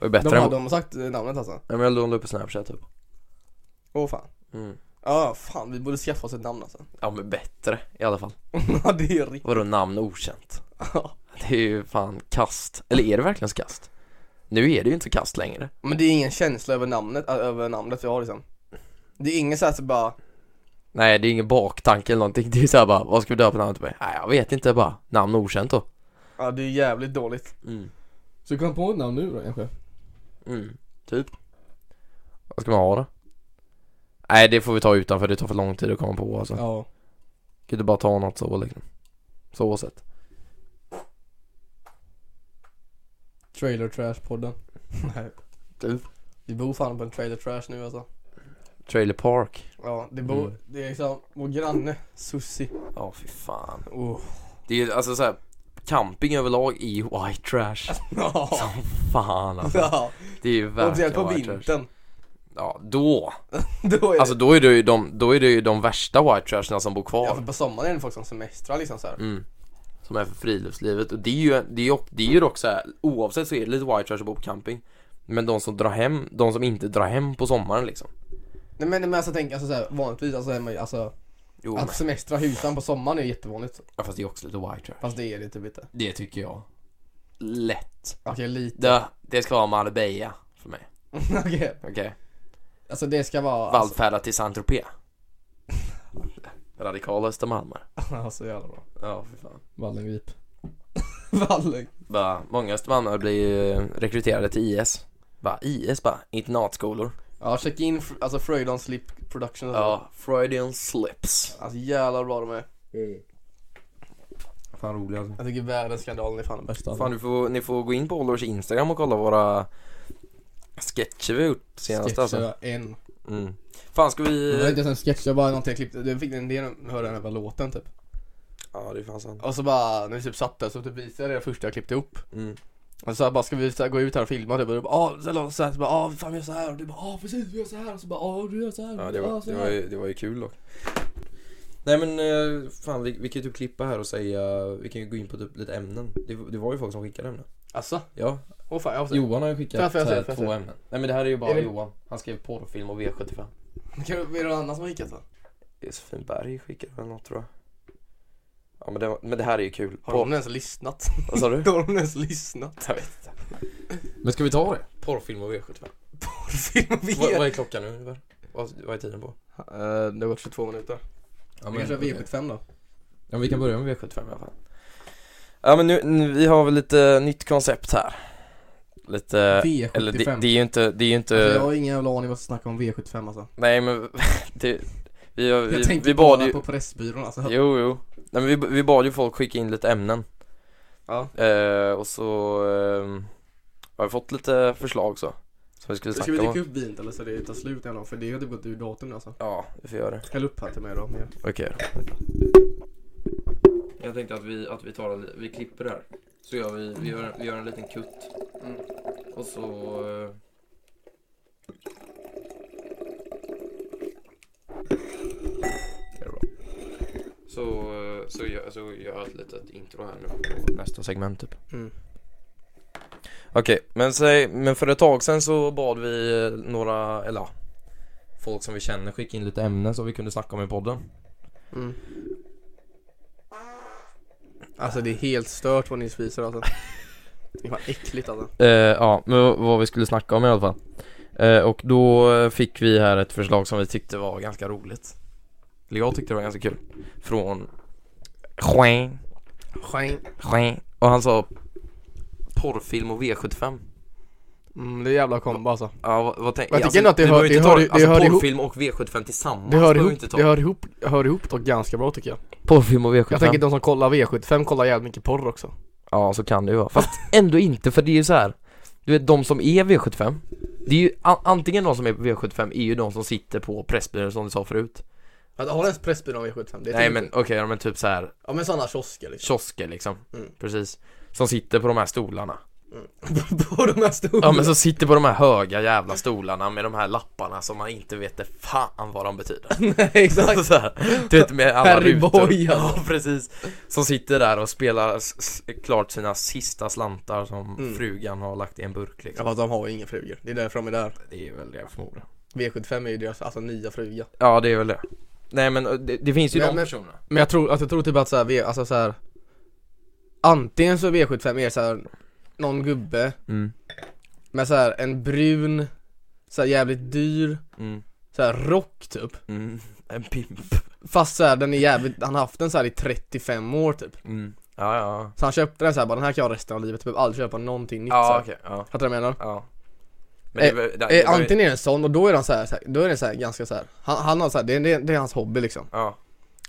Speaker 3: var ju bättre
Speaker 2: De har,
Speaker 3: än
Speaker 2: de har sagt eh, namnet alltså?
Speaker 3: Nej, men jag lånade upp på snapchat typ
Speaker 2: Åh fan.
Speaker 3: mm.
Speaker 2: Ja, fan vi borde skaffa oss ett namn alltså.
Speaker 3: Ja men bättre i alla fall
Speaker 2: Ja, det är riktigt.
Speaker 3: Vadå namn okänt?
Speaker 2: Ja.
Speaker 3: Det är ju fan kast Eller är det verkligen så kast? Nu är det ju inte så kast längre
Speaker 2: Men det är ingen känsla över namnet, äh, över namnet vi har liksom. Det är ingen såhär så bara,
Speaker 3: Nej det är ingen baktanke eller någonting Det är såhär bara, vad ska vi döpa namnet på? Nej jag vet inte bara, namn okänt då
Speaker 2: ja det är jävligt dåligt.
Speaker 3: mm.
Speaker 2: Så du kan på ett namn nu då kanske?
Speaker 3: Mm. Typ Vad ska man ha då? Nej det får vi ta utanför, det tar för lång tid att komma på alltså
Speaker 2: Ja.
Speaker 3: Kan du bara ta något så liksom Så sett
Speaker 2: Trailer Trash-podden. Nej.
Speaker 3: Du.
Speaker 2: Vi bor fan på en trailer trash nu alltså.
Speaker 3: Trailer Park.
Speaker 2: Ja, det bor,
Speaker 3: Mm.
Speaker 2: det är liksom vår granne, Susi.
Speaker 3: Ja, fy fan.
Speaker 2: Oh.
Speaker 3: Det är ju alltså så här, camping överlag är ju white trash.
Speaker 2: Ja.
Speaker 3: Fan alltså.
Speaker 2: ja.
Speaker 3: Det är ju verkligen
Speaker 2: Speciellt på
Speaker 3: white trash.
Speaker 2: vintern.
Speaker 3: Ja, då.
Speaker 2: Då är
Speaker 3: Alltså
Speaker 2: det,
Speaker 3: då är det ju de, då är det ju de värsta white trasherna som bor
Speaker 2: ja,
Speaker 3: kvar.
Speaker 2: för på sommaren är det folk som semestrar liksom så här.
Speaker 3: Mm. Som är för friluftslivet. Och det är ju, det är ju, det är ju dock så här, oavsett så är det lite white trash att bo på camping. Men de som drar hem, de som inte drar hem på sommaren liksom.
Speaker 2: Nej men, men alltså tänk, alltså, så här, vanligtvis alltså, är man, ju- alltså
Speaker 3: Jo, men,
Speaker 2: att semestra husan på sommaren är ju jättevanligt.
Speaker 3: ja, fast det är också lite white trash.
Speaker 2: Fast det är det typ inte.
Speaker 3: Det tycker jag. Lätt.
Speaker 2: Okej, lite.
Speaker 3: Det, det ska vara Marbella för mig.
Speaker 2: Okej.
Speaker 3: Okej.
Speaker 2: Alltså det ska vara... Alltså,
Speaker 3: Vallfärda till Saint-Tropez. Radikala Östermalmare.
Speaker 2: alltså jävla bra.
Speaker 3: Ja, för fan.
Speaker 2: Vallengrip. Vallen.
Speaker 3: Bara, många Östermalmare blir ju rekryterade till IS. Bara, IS bara, internatskolor.
Speaker 2: Ja, checka in fr- alltså Fröjdon Slip Production. Ja.
Speaker 3: Ja, Freudian slips.
Speaker 2: Alltså jävla bra de är.
Speaker 3: Fan roligt alltså.
Speaker 2: Jag tycker världens skandalen är fan den bästa.
Speaker 3: Fan, du får, ni får gå in på Ollers Instagram och kolla våra sketcher vi har gjort senast
Speaker 2: Sketcher, Mm.
Speaker 3: alltså.
Speaker 2: en.
Speaker 3: Mm. Fan ska
Speaker 2: Det var
Speaker 3: vi...
Speaker 2: inte ens en sketch, det var bara någonting jag klippte. Jag fick en idé när jag hörde den här låten typ.
Speaker 3: Ja, det är fan sant.
Speaker 2: Och så bara, när vi typ satt där så typ visade jag det första jag klippte upp.
Speaker 3: Mm.
Speaker 2: Och så här bara, ska vi så här, gå ut här och filma typ? Och du bara, ah, så här, långt så här, så bara, ah, fan vi gör så här. Och du bara, ah, precis vi gör så här. Och så bara, ah, du gör så här.
Speaker 3: Ja, det
Speaker 2: ah,
Speaker 3: var,
Speaker 2: så
Speaker 3: det
Speaker 2: här.
Speaker 3: var, ju, det var ju kul dock. Nej men eh, fan vi, vi kan ju typ klippa här och säga, vi kan ju gå in på typ lite ämnen. Det, det var ju folk som skickade ämnen. Alltså,
Speaker 2: Alltså,
Speaker 3: Ja,
Speaker 2: åh fan jag måste...
Speaker 3: Johan har ju
Speaker 2: Får jag-
Speaker 3: skickat
Speaker 2: får jag se,
Speaker 3: eh,
Speaker 2: får jag
Speaker 3: två
Speaker 2: se?
Speaker 3: ämnen. Nej men det här är ju bara
Speaker 2: Är det-
Speaker 3: Johan. Han skrev porrfilm och V75.
Speaker 2: Kan du, är det någon annan som har hickat då?
Speaker 3: Josefin Berg skickade väl något tror jag. Ja men det, var- men det här är ju kul.
Speaker 2: Har
Speaker 3: Porr-
Speaker 2: de ens lyssnat?
Speaker 3: Vad sa du?
Speaker 2: Har de ens lyssnat?
Speaker 3: Jag vet inte. Men ska vi ta det? Porrfilm och V75.
Speaker 2: Porrfilm och
Speaker 3: Vad, vad
Speaker 2: V.
Speaker 3: är klockan nu ungefär? Vad, vad är tiden på?
Speaker 2: Eh, Det har gått 22 minuter.
Speaker 3: Ja,
Speaker 2: Vi kan köra V75 då.
Speaker 3: Ja, vi kan börja med V75 i alla fall. Ja men nu, nu vi har väl lite nytt koncept här. Lite,
Speaker 2: V75.
Speaker 3: Eh, eller eh, det, det är ju inte, det är ju inte,
Speaker 2: Alltså, jag har ingen jävla aning vad som snackar om V75 alltså.
Speaker 3: nej men det, vi, har-
Speaker 2: Jag
Speaker 3: vi,
Speaker 2: tänkte
Speaker 3: vi bad
Speaker 2: bara
Speaker 3: ju,
Speaker 2: på Pressbyrån alltså.
Speaker 3: jo jo, nej men vi, vi bad ju folk skicka in lite ämnen.
Speaker 2: Ja.
Speaker 3: Eh, och så eh, har vi fått lite förslag så, som vi skulle
Speaker 2: Ska vi
Speaker 3: snacka
Speaker 2: dricka
Speaker 3: om.
Speaker 2: upp vinet eller så det tar slut en dag? För det har typ gått ur datum nu alltså.
Speaker 3: Ja, vi får göra det.
Speaker 2: Häll upp här till mig då. Med.
Speaker 3: Okej Jag tänkte att vi, att vi tar en, vi klipper det här. Så gör vi, vi gör, vi gör en liten kutt.
Speaker 2: Mm.
Speaker 3: Och så... eh, Det är bra. Så, eh, så, gör, så gör jag ett litet intro här nu på nästa segment typ.
Speaker 2: Mm.
Speaker 3: Okej, men, säg, men för ett tag sedan så bad vi eh, några, eller ja, folk som vi känner skicka in lite ämnen som vi kunde snacka om i podden.
Speaker 2: Mm. Alltså det är helt stört vad ni spiser alltså. Det är fan äckligt alltså.
Speaker 3: Eh, ja, men vad- vad vi skulle snacka om i alla fall. Eh, och då eh, fick vi här ett förslag som vi tyckte var ganska roligt. Eller jag tyckte det var ganska kul. Från Juan,
Speaker 2: Skäng.
Speaker 3: Juan. Och han sa porrfilm och V75.
Speaker 2: Mm, det är jävla kombo alltså.
Speaker 3: Ja, vad, vad tänk, Alltså,
Speaker 2: Jag tycker ändå att det hör-
Speaker 3: behöver
Speaker 2: det
Speaker 3: inte
Speaker 2: hör-
Speaker 3: ta-
Speaker 2: det
Speaker 3: alltså,
Speaker 2: hör ihop.
Speaker 3: porrfilm och V75 tillsammans
Speaker 2: Det hör
Speaker 3: behöver
Speaker 2: ihop,
Speaker 3: inte ta.
Speaker 2: det hör ihop, hör ihop dock ganska bra tycker jag.
Speaker 3: Porrfilm och V75.
Speaker 2: Jag tänker de som kollar V75 kollar jävligt mycket porr också.
Speaker 3: Ja, så kan det ju vara. Fast ändå inte, för det är ju så här. Du vet, de som är V75. Det är ju a- antingen de som är V75 är ju de som sitter på Pressbyrån som du sa förut.
Speaker 2: Alltså, har du ens Pressbyrån V75? Det är
Speaker 3: Nej
Speaker 2: typ-
Speaker 3: men okej, ja, men typ så här
Speaker 2: Ja men sådana kiosker liksom.
Speaker 3: kiosker liksom.
Speaker 2: Mm.
Speaker 3: Precis. Som sitter på de här stolarna.
Speaker 2: på de här stora.
Speaker 3: Ja men som sitter på de här höga jävla stolarna med de här lapparna som man inte vet det fan vad de betyder.
Speaker 2: Nej exakt.
Speaker 3: så här, du vet med alla
Speaker 2: Harry
Speaker 3: rutor.
Speaker 2: Boy, alltså.
Speaker 3: ja precis. Som sitter där och spelar s- s- klart sina sista slantar som
Speaker 2: Mm.
Speaker 3: frugan har lagt i en burk
Speaker 2: Ja
Speaker 3: liksom.
Speaker 2: fast de har ju inga frugor. Det är därför de är där.
Speaker 3: Det är väl det förmodligen.
Speaker 2: V75 är ju deras alltså nya fruga.
Speaker 3: Ja det är väl det. Nej men eh, det, det finns ju
Speaker 2: Men-
Speaker 3: de
Speaker 2: men-
Speaker 3: personerna.
Speaker 2: Men jag tror, alltså, jag tror typ att såhär, V- alltså såhär Antingen så är V75 är såhär Någon gubbe
Speaker 3: Mm.
Speaker 2: med såhär en brun Såhär jävligt dyr
Speaker 3: Mm.
Speaker 2: Såhär rock typ
Speaker 3: Mm. En pimp.
Speaker 2: Fast såhär den är jävligt, han har haft den såhär i 35 år typ
Speaker 3: Mm. Ja ja.
Speaker 2: Så han köpte den såhär bara den här kan jag ha resten av livet, behöver aldrig köpa någonting nytt
Speaker 3: Ja
Speaker 2: såhär.
Speaker 3: okej. Ja.
Speaker 2: Fattar du vad jag menar?
Speaker 3: Ja. Men det,
Speaker 2: Eh,
Speaker 3: var- det, det,
Speaker 2: Eh,
Speaker 3: var-
Speaker 2: antingen är det en sån och då är den såhär, såhär då är den såhär ganska såhär Han, han har såhär, det, är- det, är- det är hans hobby liksom
Speaker 3: Ja.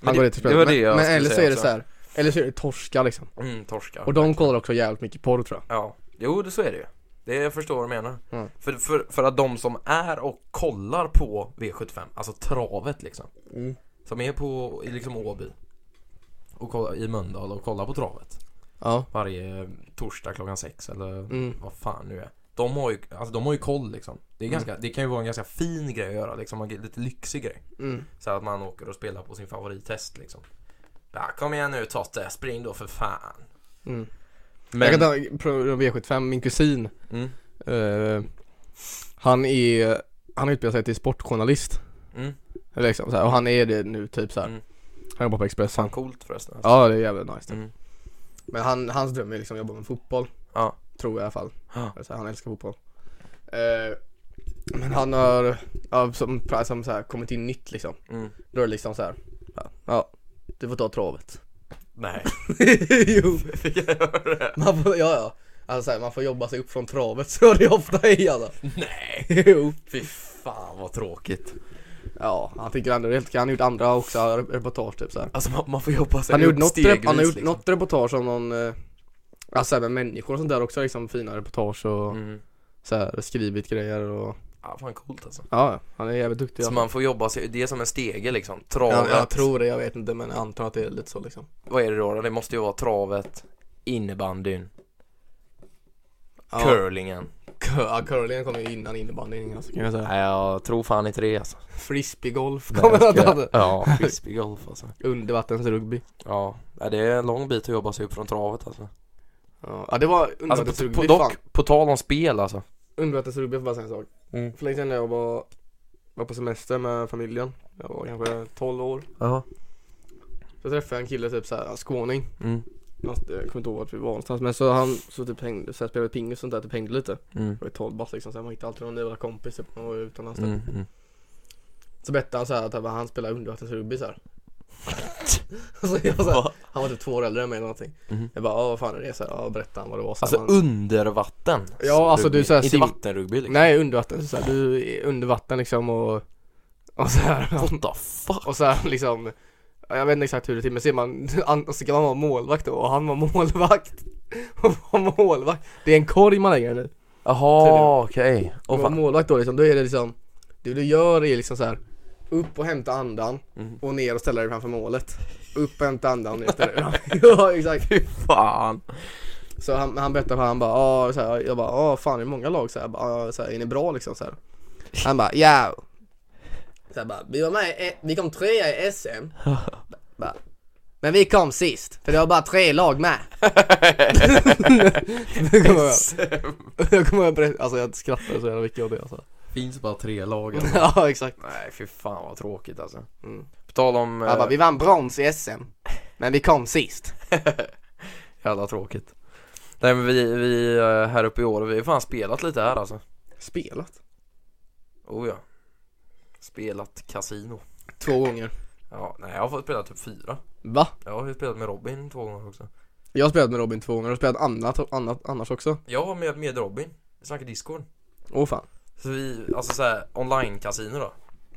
Speaker 2: Han går dit och
Speaker 3: det
Speaker 2: spelar
Speaker 3: var
Speaker 2: men,
Speaker 3: det jag
Speaker 2: men
Speaker 3: skulle
Speaker 2: eller så
Speaker 3: säga
Speaker 2: är det
Speaker 3: också.
Speaker 2: såhär Eller så är det torska liksom
Speaker 3: Mm, torska.
Speaker 2: Och de kollar också jävligt mycket porr tror jag
Speaker 3: Ja. Jo, det så är det ju. Det jag förstår vad du menar.
Speaker 2: Mm.
Speaker 3: För, för, för att de som är och kollar på V75, alltså travet liksom.
Speaker 2: Mm.
Speaker 3: Som är på i liksom Åby. Och kollar, i Mölndal och kollar på travet.
Speaker 2: Ja.
Speaker 3: Varje torsdag klockan sex eller
Speaker 2: Mm.
Speaker 3: vad fan nu är. De har ju, alltså de har ju koll liksom. Det, är
Speaker 2: Mm.
Speaker 3: ganska, det kan ju vara en ganska fin grej att göra liksom. En lite lyxig grej.
Speaker 2: Mm.
Speaker 3: Så att man åker och spelar på sin favorithäst liksom. Ja, kom igen nu Totte, spring då för fan.
Speaker 2: Mm.
Speaker 3: Men,
Speaker 2: Jag kan ta pro- V75, min kusin.
Speaker 3: mm,
Speaker 2: Eh, han är, han utbildar sig till sportjournalist.
Speaker 3: mm,
Speaker 2: Eller Liksom, så här, och han är det nu typ så här.
Speaker 3: Mm.
Speaker 2: Han jobbar på Expressen.
Speaker 3: coolt förresten. alltså.
Speaker 2: Ja det är jävligt nice. typ.
Speaker 3: Mm.
Speaker 2: Men han, hans dröm är liksom att jobba med fotboll.
Speaker 3: Ja.
Speaker 2: Tror jag i alla fall.
Speaker 3: Ja.
Speaker 2: Eller Så här, han älskar fotboll. Eh, men han har, ja, som, som så här, kommit in nytt liksom.
Speaker 3: Mm.
Speaker 2: Då är det liksom så här. ja, Ja, du får ta travet.
Speaker 3: Nej.
Speaker 2: jo,
Speaker 3: Fick jag göra det?
Speaker 2: man får, ja ja. Alltså så här, man får jobba sig upp från travet så det ofta alltså. är alla.
Speaker 3: Nej.
Speaker 2: Jo.
Speaker 3: Fy fan vad tråkigt.
Speaker 2: Ja, han tycker ändå det är helt Han har gjort andra också, reportage typ så här.
Speaker 3: Alltså man, man får jobba sig
Speaker 2: Han har gjort, något,
Speaker 3: stegvis,
Speaker 2: rep- han har gjort
Speaker 3: liksom.
Speaker 2: något reportage om någon eh, Alltså här med människor och sånt där också liksom fina reportage och
Speaker 3: Mm.
Speaker 2: så här, skrivit grejer och
Speaker 3: Ja, fan coolt alltså.
Speaker 2: Ja, ja, han är jävligt duktig
Speaker 3: Så
Speaker 2: alltså.
Speaker 3: man får jobba sig, det är som en stege liksom.
Speaker 2: ja,
Speaker 3: Travet.
Speaker 2: Jag tror det, jag vet inte men jag antar att det är lite så liksom
Speaker 3: Vad är det då? Det måste ju vara travet, innebandyn,
Speaker 2: ja,
Speaker 3: curlingen.
Speaker 2: cur- ja, curlingen kom ju innan innebandyn alltså, kan jag säga
Speaker 3: Nej, jag tror fan inte det alltså.
Speaker 2: Frisbeegolf
Speaker 3: Nej,
Speaker 2: kommer
Speaker 3: jag
Speaker 2: att
Speaker 3: ska-
Speaker 2: ha
Speaker 3: Ja, frisbeegolf alltså.
Speaker 2: Undervattensrugby
Speaker 3: Ja, nej, det är en lång bit att jobba sig upp från travet alltså.
Speaker 2: ja. ja, det var
Speaker 3: Alltså på,
Speaker 2: undervattensrugby
Speaker 3: på,
Speaker 2: fan
Speaker 3: dock, på tal om spel alltså.
Speaker 2: Undervattensrugby, jag får bara säga en sak
Speaker 3: Mm.
Speaker 2: För länge sedan när jag var, var på semester med familjen Jag var kanske 12 år
Speaker 3: Ja.
Speaker 2: Så träffade jag en kille typ såhär, skåning
Speaker 3: Mm.
Speaker 2: Jag kommer inte ihåg vart vi var någonstans men så han så typ hängde, så här spelade ping och sånt där typ hängde lite
Speaker 3: Mm.
Speaker 2: Det var ju 12 bast liksom så här, man hittade alltid någon jävla kompis typ när man var utomlands typ.
Speaker 3: Mm. Mm.
Speaker 2: Så berättade han så här att han bara, han spelar undervattensrugby såhär så jag så här, Han var typ två år äldre än mig eller någonting
Speaker 3: Mhm.
Speaker 2: Jag bara "Ja, vad fan är det? Så här, ja berättade han vad det var så här,
Speaker 3: Alltså
Speaker 2: man-
Speaker 3: under vatten.
Speaker 2: Ja, alltså, du är så här
Speaker 3: Inte
Speaker 2: sim-
Speaker 3: vattenrugby liksom.
Speaker 2: Nej undervatten, så här, du är under vatten liksom och Och så här,
Speaker 3: What the fuck?
Speaker 2: och så här liksom ja, Jag vet inte exakt hur det är till men ser man, an- så kan man vara målvakt då och han var målvakt Och var målvakt Det är en korg man lägger den i
Speaker 3: Jaha, okej.
Speaker 2: Och
Speaker 3: Åh,
Speaker 2: vara
Speaker 3: fan.
Speaker 2: målvakt då liksom, då är det liksom Det du gör är liksom så här Upp och hämta andan
Speaker 3: Mm.
Speaker 2: och ner och ställa dig framför målet Upp och hämta andan och ner och ställa dig Ja exakt
Speaker 3: Fan.
Speaker 2: Så han, han berättade för han bara "Ja", så här, jag bara ja fan det är många lag så här, Jag bara, "Ja", så här är ni bra liksom så här. Han bara ja Så jag bara vi var med i- E, vi kom trea i SM bara, Men vi kom sist för det var bara tre lag med Jag kommer ihåg- Jag kommer ihåg, att berätta- alltså jag skrattade så jävla mycket åt det alltså.
Speaker 3: Finns bara tre lag alltså.
Speaker 2: Ja exakt
Speaker 3: Nej, fy fan vad tråkigt alltså.
Speaker 2: Mm.
Speaker 3: På tal om...
Speaker 2: Han bara,
Speaker 3: eh,
Speaker 2: vi vann brons i SM, men vi kom sist.
Speaker 3: eh, Jävla tråkigt. Nej men vi, vi eh, här uppe i år, vi har fan spelat lite här alltså.
Speaker 2: Spelat?
Speaker 3: Oh ja. Spelat kasino.
Speaker 2: Två gånger.
Speaker 3: Ja, nej jag har fått spela typ fyra.
Speaker 2: Va?
Speaker 3: Jag har ju spelat med Robin två gånger också.
Speaker 2: Jag har spelat med Robin två gånger och spelat annat, annat annars också.
Speaker 3: Jag var med, med Robin, vi snackade Discord.
Speaker 2: Åh fan.
Speaker 3: Så vi, alltså såhär online-kasino då.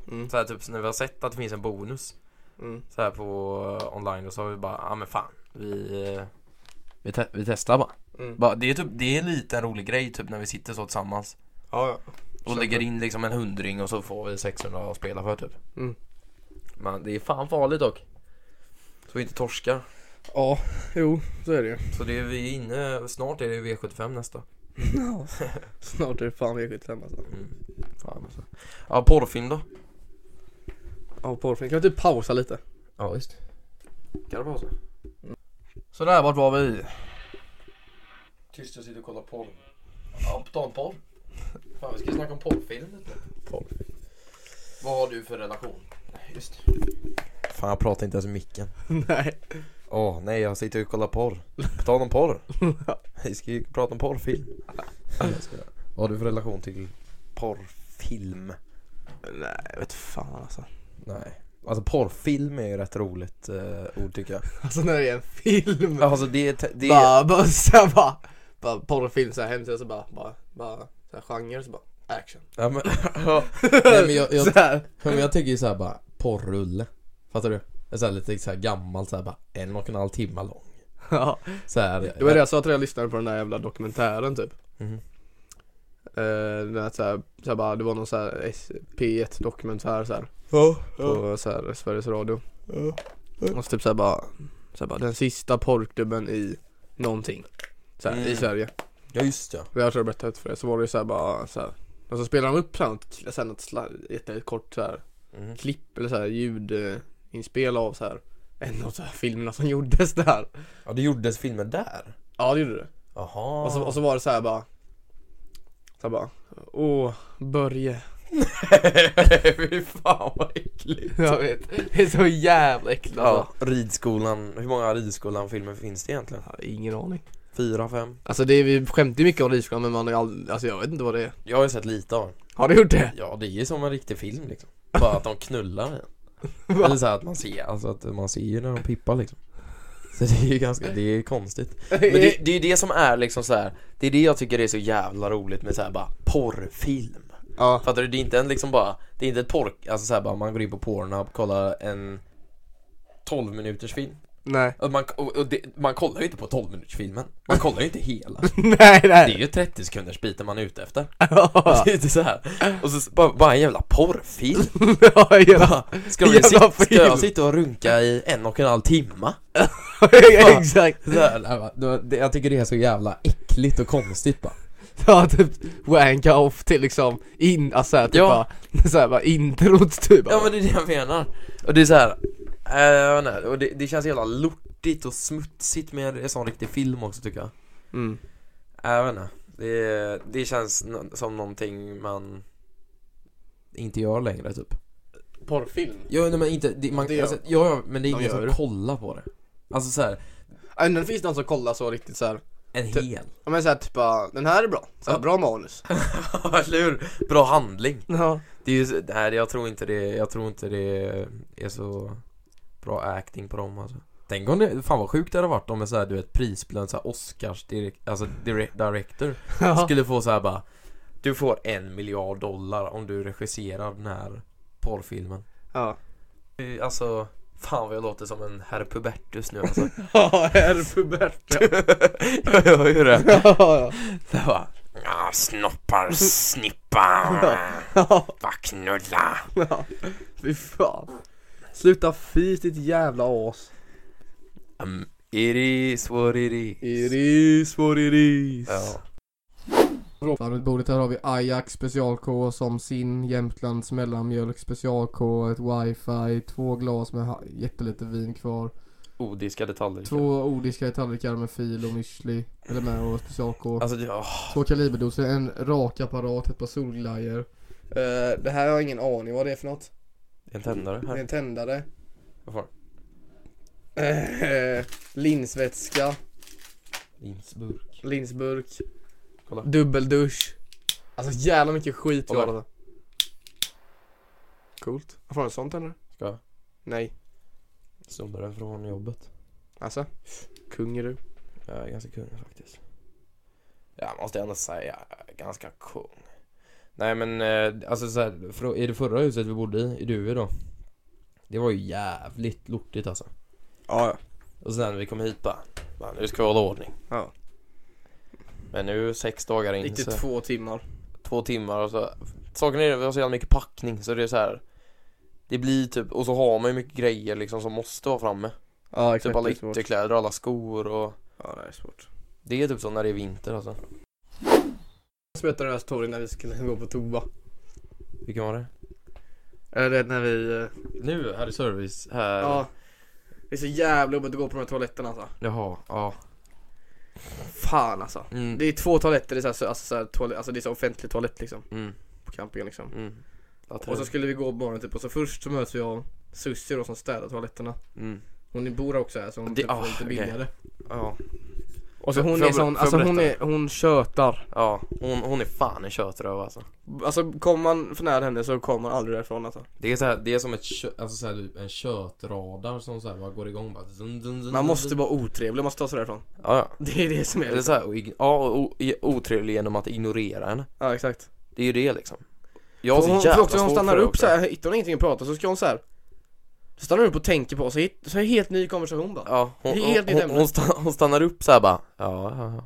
Speaker 2: Mm.
Speaker 3: Så här, typ när vi har sett att det finns en bonus
Speaker 2: Mm.
Speaker 3: så här på eh, online och så har vi bara, ja ah, men fan. Vi, eh, vi, te- vi testar bara.
Speaker 2: Mm.
Speaker 3: bara. Det är typ, det är lite en rolig grej typ när vi sitter så tillsammans.
Speaker 2: Ja, ja.
Speaker 3: Och lägger in liksom en hundring och så får vi 600 att spela för typ.
Speaker 2: Mm.
Speaker 3: Men det är fan farligt dock. Så vi inte torskar.
Speaker 2: Ja, jo, så är det ju.
Speaker 3: Så det är vi är inne, snart är det V75 nästa.
Speaker 2: Snart är det fan V75 alltså.
Speaker 3: Mm. Fan alltså. Ja, porrfilm då?
Speaker 2: Ja, porrfilm. Kan vi typ pausa lite?
Speaker 3: Ja, visst. Kan det vara så? Sådär, vart var vi? Tyst, jag sitter och kollar porr. Ja, på tal om porr. Fan, vi ska snacka om porrfilm lite.
Speaker 2: Porrfilm.
Speaker 3: Vad har du för relation? Just Fan, jag pratar inte ens i micken.
Speaker 2: Nej.
Speaker 3: Åh nej jag sitter och kollar porr. På tal om porr. Vi ska ju prata om porrfilm. Jag skojar. Vad har du för relation till porrfilm?
Speaker 2: Nej, jag vet fan alltså.
Speaker 3: Nej. Alltså porrfilm är ju rätt roligt eh, ord tycker jag.
Speaker 2: Alltså när det är en film.
Speaker 3: Alltså det är... te- det är
Speaker 2: Bara, bara såhär bara. Bara porrfilm såhär hemsida så bara, bara, bara såhär genre så bara action.
Speaker 3: ja, men, ja. Nej, men jag, jag,
Speaker 2: Såhär.
Speaker 3: men jag tycker ju såhär bara porrrulle. Fattar du? En sån här lite så här gammal såhär bara en och en halv timme lång.
Speaker 2: Ja.
Speaker 5: Så här.
Speaker 2: Det var det jag sa till dig jag lyssnade på den där jävla dokumentären typ
Speaker 3: Mhm.
Speaker 2: Eh, den där, så här, så här, bara, det var någon så här S- P1 dokumentär så här,
Speaker 5: Ja,
Speaker 2: på så här, Sveriges Radio Och så typ så här, bara, så här, bara den sista porrklubben i någonting så här, i
Speaker 3: Mm.
Speaker 2: Sverige
Speaker 5: ja just ja.
Speaker 2: Jag tror jag berättade för det, så var det ju så här bara så här. Och så spelade de upp så här, något- så här, något sla- jättekort så här,
Speaker 3: Mm.
Speaker 2: klipp eller så här ljudinspel av så här en av så här filmerna som gjordes där
Speaker 5: Ja det gjordes filmer där?
Speaker 2: Ja det gjorde det
Speaker 5: Jaha.
Speaker 2: Och så, och så var det så här bara Så här bara Åh, Börje
Speaker 3: Fy fan vad äckligt.
Speaker 2: Jag vet, det är så jävla äckligt
Speaker 3: Ja, ridskolan. Hur många ridskolan-filmer finns det egentligen?
Speaker 2: alltså. Ingen aning
Speaker 3: Fyra, fem?
Speaker 2: Alltså det är, vi skämtar ju mycket om ridskolan men man är aldrig, alltså jag vet inte vad det är
Speaker 3: Jag har ju sett lite av den.
Speaker 2: Har du gjort det?
Speaker 3: Ja, det är ju som en riktig film liksom. Bara att de knullar en.
Speaker 2: Va?
Speaker 3: Eller så här att man ser, alltså att man ser ju när de pippar liksom. Så det är ju ganska, det är konstigt. Men det, det är ju det som är liksom så här. det är det jag tycker är så jävla roligt med så här bara porrfilm.
Speaker 2: Ja,
Speaker 3: Fattar du? Det är inte en liksom bara, det är inte ett porr, alltså så här bara man går in på Pornhub, kollar en 12 minuters film.
Speaker 2: nej
Speaker 3: Och man, och, och det, man kollar ju inte på 12 minuters filmen. Man kollar ju inte hela.
Speaker 2: Nej
Speaker 3: Det
Speaker 2: nej
Speaker 3: är ju 30 sekunders biten man är ute efter.
Speaker 2: Ja,
Speaker 3: Det är inte så här. Och så bara, bara en jävla porrfilm.
Speaker 2: ja,
Speaker 3: Ska, de
Speaker 2: Jävla
Speaker 3: sitta, ska
Speaker 2: film.
Speaker 3: jag sitta och runka i en och en halv timma?
Speaker 2: exakt
Speaker 3: Så här, nej, va. Det var- det- jag tycker det är så jävla äckligt och konstigt bara.
Speaker 2: Ja typ wanka off till liksom in, alltså såhär typ
Speaker 3: Ja.
Speaker 2: bara, såhär bara introt typ
Speaker 3: Ja men det är det jag menar. Och det är så här. eh, jag vet inte, och det, det känns jävla lortigt och smutsigt med en sån riktig film också tycker jag.
Speaker 2: mm.
Speaker 3: Äh, Jag vet inte. Det, det känns nå- som någonting man inte gör längre typ.
Speaker 2: Porrfilm?
Speaker 3: Ja, nej, men inte, det, man,
Speaker 2: Det gör-
Speaker 3: alltså, ja, ja, men det är
Speaker 2: de
Speaker 3: ingen
Speaker 2: gör
Speaker 3: som
Speaker 2: det.
Speaker 3: kollar på det. Alltså så här,
Speaker 2: Ja men det finns någon som kollar så riktigt såhär
Speaker 3: en
Speaker 2: Typ-
Speaker 3: hel.
Speaker 2: Ja men såhär typ bara, den här är bra, så här,
Speaker 3: Ja.
Speaker 2: bra manus
Speaker 3: Eller hur? Bra handling.
Speaker 2: Ja
Speaker 3: Det är ju, så- nej jag tror inte det, jag tror inte det är så bra acting på dem alltså. Tänk om det, fan vad sjukt det hade varit om en så här, du vet prisbelönt så här Oscars direkt, alltså direct, director skulle få så här bara Du får en miljard dollar om du regisserar den här porrfilmen.
Speaker 2: Ja
Speaker 3: Det är- Alltså, fan vad jag låter som en herr Pubertus nu alltså.
Speaker 2: Ja, herr Puberta
Speaker 3: jag hör ju det.
Speaker 2: Ja,
Speaker 3: Så här bara, "Ja, snoppar, snippa,
Speaker 2: ja,
Speaker 3: bara knulla.
Speaker 2: ja Fy fan Sluta fis ditt jävla as
Speaker 3: Um, it is what it is.
Speaker 2: Iris what it is
Speaker 3: Ja.
Speaker 4: Runt bordet här har vi Ajax special-K som sin, Jämtlands mellanmjölk special-K, ett wifi, två glas med ha- jättelite vin kvar.
Speaker 3: Odiskade tallrikar.
Speaker 4: Två odiskade tallrikar med fil och müsli, eller med och special-K.
Speaker 3: Alltså, det- åh.
Speaker 4: Två kaliberdoser, en rakapparat, ett par solglajjor.
Speaker 2: Eh, Det här har jag ingen aning vad det är för något
Speaker 3: det är en tändare
Speaker 2: Det är
Speaker 3: här.
Speaker 2: en tändare
Speaker 3: Vad fan?
Speaker 2: Eh, Linsvätska
Speaker 3: Linsburk.
Speaker 2: Linsburk
Speaker 3: Kolla.
Speaker 2: Dubbeldusch Alltså jävla mycket skit
Speaker 3: Kolla.
Speaker 2: jag har Coolt Varför har du sånt eller?
Speaker 3: Ska jag?
Speaker 2: Nej
Speaker 3: Snodde den från jobbet.
Speaker 2: Alltså Kung är du
Speaker 3: Jag är ganska kung faktiskt. Jag måste ändå säga, jag är ganska kung. Nej men, eh, alltså så här, frå- i det förra huset vi bodde i, i Duved då. Det var ju jävligt lortigt alltså.
Speaker 2: Ja
Speaker 3: Och sen när vi kom hit bara, "Fan, nu ska vi hålla ordning.
Speaker 2: Ja.
Speaker 3: Men nu sex dagar in
Speaker 2: Gick det
Speaker 3: så,
Speaker 2: två timmar
Speaker 3: två timmar och så. Saken är det, vi har så jävla mycket packning så det är så här. Det blir typ, och så har man ju mycket grejer liksom som måste vara framme.
Speaker 2: Ja
Speaker 3: Typ alla ytterkläder och alla skor och
Speaker 2: Ja det är svårt
Speaker 3: Det är typ så när det är vinter alltså.
Speaker 2: Jag berättade den här storyn när vi skulle gå på toa
Speaker 3: Vilken var det?
Speaker 2: Eller det när vi eh,
Speaker 3: Nu, här i service, här
Speaker 2: Ja Det är så jävla jobbigt att gå på de här toaletterna alltså
Speaker 3: Jaha, ja
Speaker 2: Fan alltså
Speaker 3: mm.
Speaker 2: Det är två toaletter, det är så här, så- alltså, så här, toalett, alltså det är så offentlig toalett liksom
Speaker 3: Mm.
Speaker 2: På campingen liksom
Speaker 3: Mm. Att-
Speaker 2: Och så skulle vi gå på morgonen typ och så först så möts vi av Sussie då som städar toaletterna
Speaker 3: mm.
Speaker 2: Hon bor också här så hon
Speaker 3: Det-
Speaker 2: typ får
Speaker 3: ah,
Speaker 2: lite
Speaker 3: okej.
Speaker 2: billigare
Speaker 3: Ja,
Speaker 2: Och så
Speaker 3: Får-
Speaker 2: hon
Speaker 3: får
Speaker 2: är
Speaker 3: jag ber-
Speaker 2: sån,
Speaker 3: får jag
Speaker 2: alltså hon är,
Speaker 3: berätta?
Speaker 2: hon tjötar
Speaker 3: ja hon, hon är fan en köttröv alltså
Speaker 2: Alltså kommer man för nära henne så kommer man aldrig därifrån alltså
Speaker 3: Det är så här, det är som ett kö, alltså så här, typ en kötradar som så här bara går igång bara dun, dun, dun,
Speaker 2: Man måste
Speaker 3: dun.
Speaker 2: vara otrevlig, man måste ta sig därifrån
Speaker 3: Ja, ja
Speaker 2: Det är det som är
Speaker 3: Eller
Speaker 2: det
Speaker 3: så här, och ig- ja, och, och, otrevlig genom att ignorera henne
Speaker 2: Ja exakt
Speaker 3: Det är ju det liksom Jag har
Speaker 2: För
Speaker 3: så
Speaker 2: hon,
Speaker 3: jävla
Speaker 2: för också hon
Speaker 3: svårt
Speaker 2: stannar
Speaker 3: för det
Speaker 2: upp så här, hittar hon ingenting att prata så ska hon så här Så stannar hon upp och tänker på, så är så är det helt ny konversation bara.
Speaker 3: Ja, hon,
Speaker 2: Det är
Speaker 3: hon,
Speaker 2: helt nytt
Speaker 3: hon,
Speaker 2: ämne.
Speaker 3: hon, stann, hon stannar upp så här bara. Ja, ja, ja.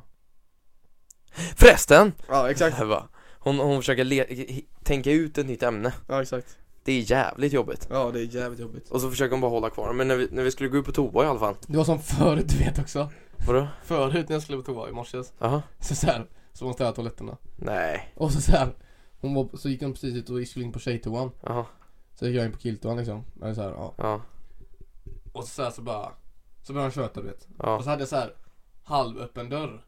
Speaker 3: Förresten!
Speaker 2: Ja, exakt.
Speaker 3: Här bara. Hon, hon försöker le- hi- tänka ut ett nytt ämne.
Speaker 2: Ja, exakt.
Speaker 3: Det är jävligt jobbigt.
Speaker 2: Ja, det är jävligt jobbigt.
Speaker 3: Och så försöker hon bara hålla kvar Men när vi, när vi skulle gå ut på toa i alla fall.
Speaker 4: Det var som förut du vet också.
Speaker 3: Vadå?
Speaker 4: Förut när jag skulle på toa i morse
Speaker 3: Jaha?
Speaker 4: så såhär, så var hon städade toaletterna.
Speaker 3: Nej.
Speaker 4: Och så såhär, hon var, så gick hon precis ut och skulle in på tjejtoan.
Speaker 3: Jaha.
Speaker 4: Så gick jag in på killtoan liksom. Eller såhär, ja.
Speaker 3: Ja.
Speaker 4: Och så, såhär, så bara, så började hon köta du vet. Och
Speaker 3: Ja.
Speaker 4: så hade jag såhär halvöppen dörr.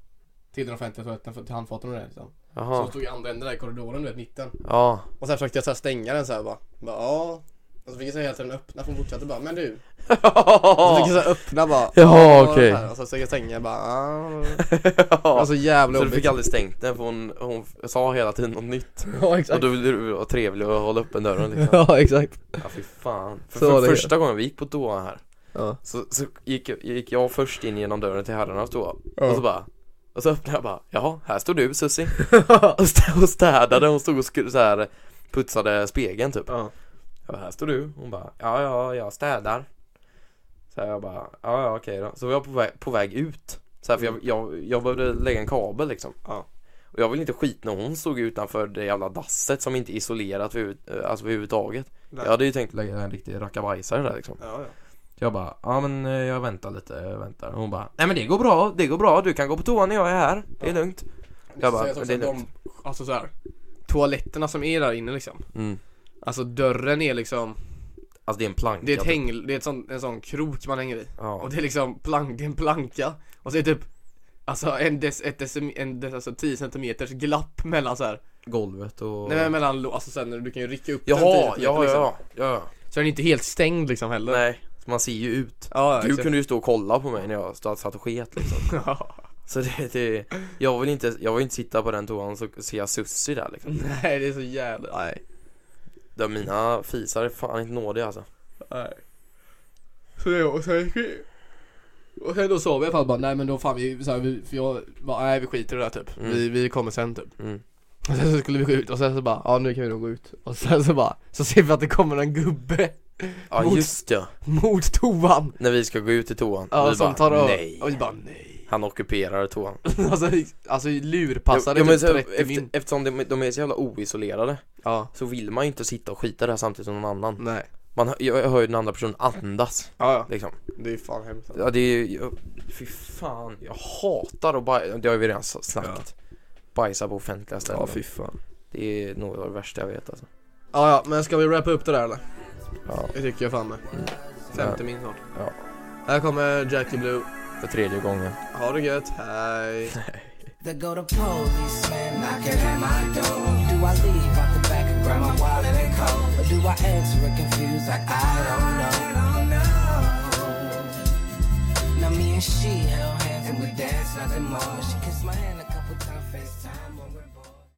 Speaker 4: Till den offentliga toaletten, för- till handfaten och det liksom. Så
Speaker 3: Jaha.
Speaker 4: hon stod i andra änden där i korridoren du vet, mitten.
Speaker 3: Ja.
Speaker 2: Och sen försökte jag så här stänga den så här bara. bara ja. Och så fick jag så här hela tiden öppna, för hon fortsatte bara, men du. Och så fick jag så här öppna bara.
Speaker 3: Ja,
Speaker 2: och
Speaker 3: okej.
Speaker 2: så här, Och så fick jag stänga bara. ah.
Speaker 3: Ja.
Speaker 2: Alltså jävla
Speaker 3: Så du
Speaker 2: jobbigt.
Speaker 3: fick aldrig stängt den för hon, hon sa hela tiden något nytt
Speaker 2: Ja,
Speaker 3: Och
Speaker 2: exakt.
Speaker 3: då ville du vara trevlig och hålla öppen dörren liksom
Speaker 2: Ja, exakt.
Speaker 3: Ja fy fan För,
Speaker 2: Så var
Speaker 3: för
Speaker 2: det.
Speaker 3: första gången vi gick på toa här
Speaker 2: Ja.
Speaker 3: Så, så gick, gick jag först in genom dörren till herrarnas toa
Speaker 2: Ja.
Speaker 3: Och så bara Och så öppnade jag bara Jaha, här står du Susie Och stä- och städade, hon stod och skulle så här Putsade spegeln typ
Speaker 2: Ja.
Speaker 3: jag bara, här står du. Hon bara, ja, ja, jag städar. Så här, jag bara, ja, ja, okej då. Så var jag på väg, på väg ut. Så här, för jag, jag, jag behövde lägga en kabel liksom.
Speaker 2: Mm. Ja.
Speaker 3: Och jag ville inte skit när hon stod utanför det jävla dasset som inte är isolerat för, huvud- alltså överhuvudtaget.
Speaker 2: Nej.
Speaker 3: Jag hade ju tänkt lägga en riktig rackabajsare där liksom.
Speaker 2: Ja, ja.
Speaker 3: Så jag bara, ja men eh, jag väntar lite, jag väntar. Hon bara, nej men det går bra, det går bra, du kan gå på toa när jag är här, det är lugnt. Jag bara,
Speaker 2: Så
Speaker 3: det är
Speaker 2: sägs också att
Speaker 3: lugnt.
Speaker 2: de- Alltså så här. Toaletterna som är där inne liksom.
Speaker 3: Mm.
Speaker 2: Alltså dörren är liksom.
Speaker 3: Alltså det är en planka.
Speaker 2: Det är ett
Speaker 3: typ.
Speaker 2: häng, det är ett sån, en sån krok man hänger i.
Speaker 3: Ja.
Speaker 2: Och det är liksom plank, det är en planka Och så är det typ Alltså en, dec, ett decim, en dec, alltså 10 centimeters glapp mellan så här.
Speaker 3: Golvet och...
Speaker 2: Nej men mellan, lå- alltså sen du kan ju rycka upp den 10
Speaker 3: Jaha, ja,
Speaker 2: centimeter,
Speaker 3: ja,
Speaker 2: liksom.
Speaker 3: ja, ja.
Speaker 2: Så den är inte helt stängd liksom heller
Speaker 3: Nej, man ser ju ut.
Speaker 2: Ja, ja,
Speaker 3: Du
Speaker 2: exakt.
Speaker 3: kunde ju stå och kolla på mig när jag stod- satt och sket liksom. Så det, det jag, vill inte, jag vill inte sitta på den toan så ser jag Sussi där liksom.
Speaker 2: Nej det är så jävla, nej,
Speaker 3: Där mina fisar är fan inte nådiga alltså.
Speaker 2: nej. Så det, och sen gick vi
Speaker 4: Och sen då sov jag i alla fall bara, nej men då fan vi, så här, vi för jag bara, nej vi skiter i det där typ.
Speaker 3: Mm.
Speaker 4: Vi, vi kommer sen typ.
Speaker 3: Mm.
Speaker 4: Och sen så skulle vi gå ut och sen så bara, ja nu kan vi nog gå ut. Och sen så bara, så ser vi att det kommer en gubbe
Speaker 3: Ja
Speaker 4: Mot-
Speaker 3: just ja,
Speaker 4: mot toan.
Speaker 3: när vi ska gå ut i toan.
Speaker 4: Ja,
Speaker 3: vi
Speaker 4: som
Speaker 3: bara,
Speaker 4: tar av.
Speaker 3: nej.
Speaker 4: Och vi bara, nej.
Speaker 3: Han ockuperar toan.
Speaker 4: Alltså, vi- alltså vi lurpassade
Speaker 3: Jo, men
Speaker 4: typ
Speaker 3: så,
Speaker 4: 30
Speaker 3: efter,
Speaker 4: min.
Speaker 3: eftersom de, de är så jävla oisolerade
Speaker 2: Ja,
Speaker 3: så vill man ju inte sitta och skita där samtidigt som någon annan.
Speaker 2: nej
Speaker 3: Man, hör- jag hör ju den andra personen andas
Speaker 2: Ja ja,
Speaker 3: liksom.
Speaker 2: det är fan hemskt
Speaker 3: Ja det är ju, jag- fy fan, jag hatar att bajsa, det har vi redan s- snackat Bajsa på offentliga ställen
Speaker 2: fan
Speaker 3: Det är nog det värsta jag vet alltså
Speaker 2: Ja ja, men ska vi wrappa upp det där eller?
Speaker 3: Ja,
Speaker 2: Det tycker jag fan med Femte min snart
Speaker 3: Ja.
Speaker 2: Här kommer Jackie Blue
Speaker 3: för tredje gången
Speaker 2: Ha det gött, hej
Speaker 6: There go the policeman knocking at my door. Do I leave out the back and grab my wallet and coat? Or do I answer it confused like I don't know? Now me and she held hands and we danced nothing more. She kissed my hand. like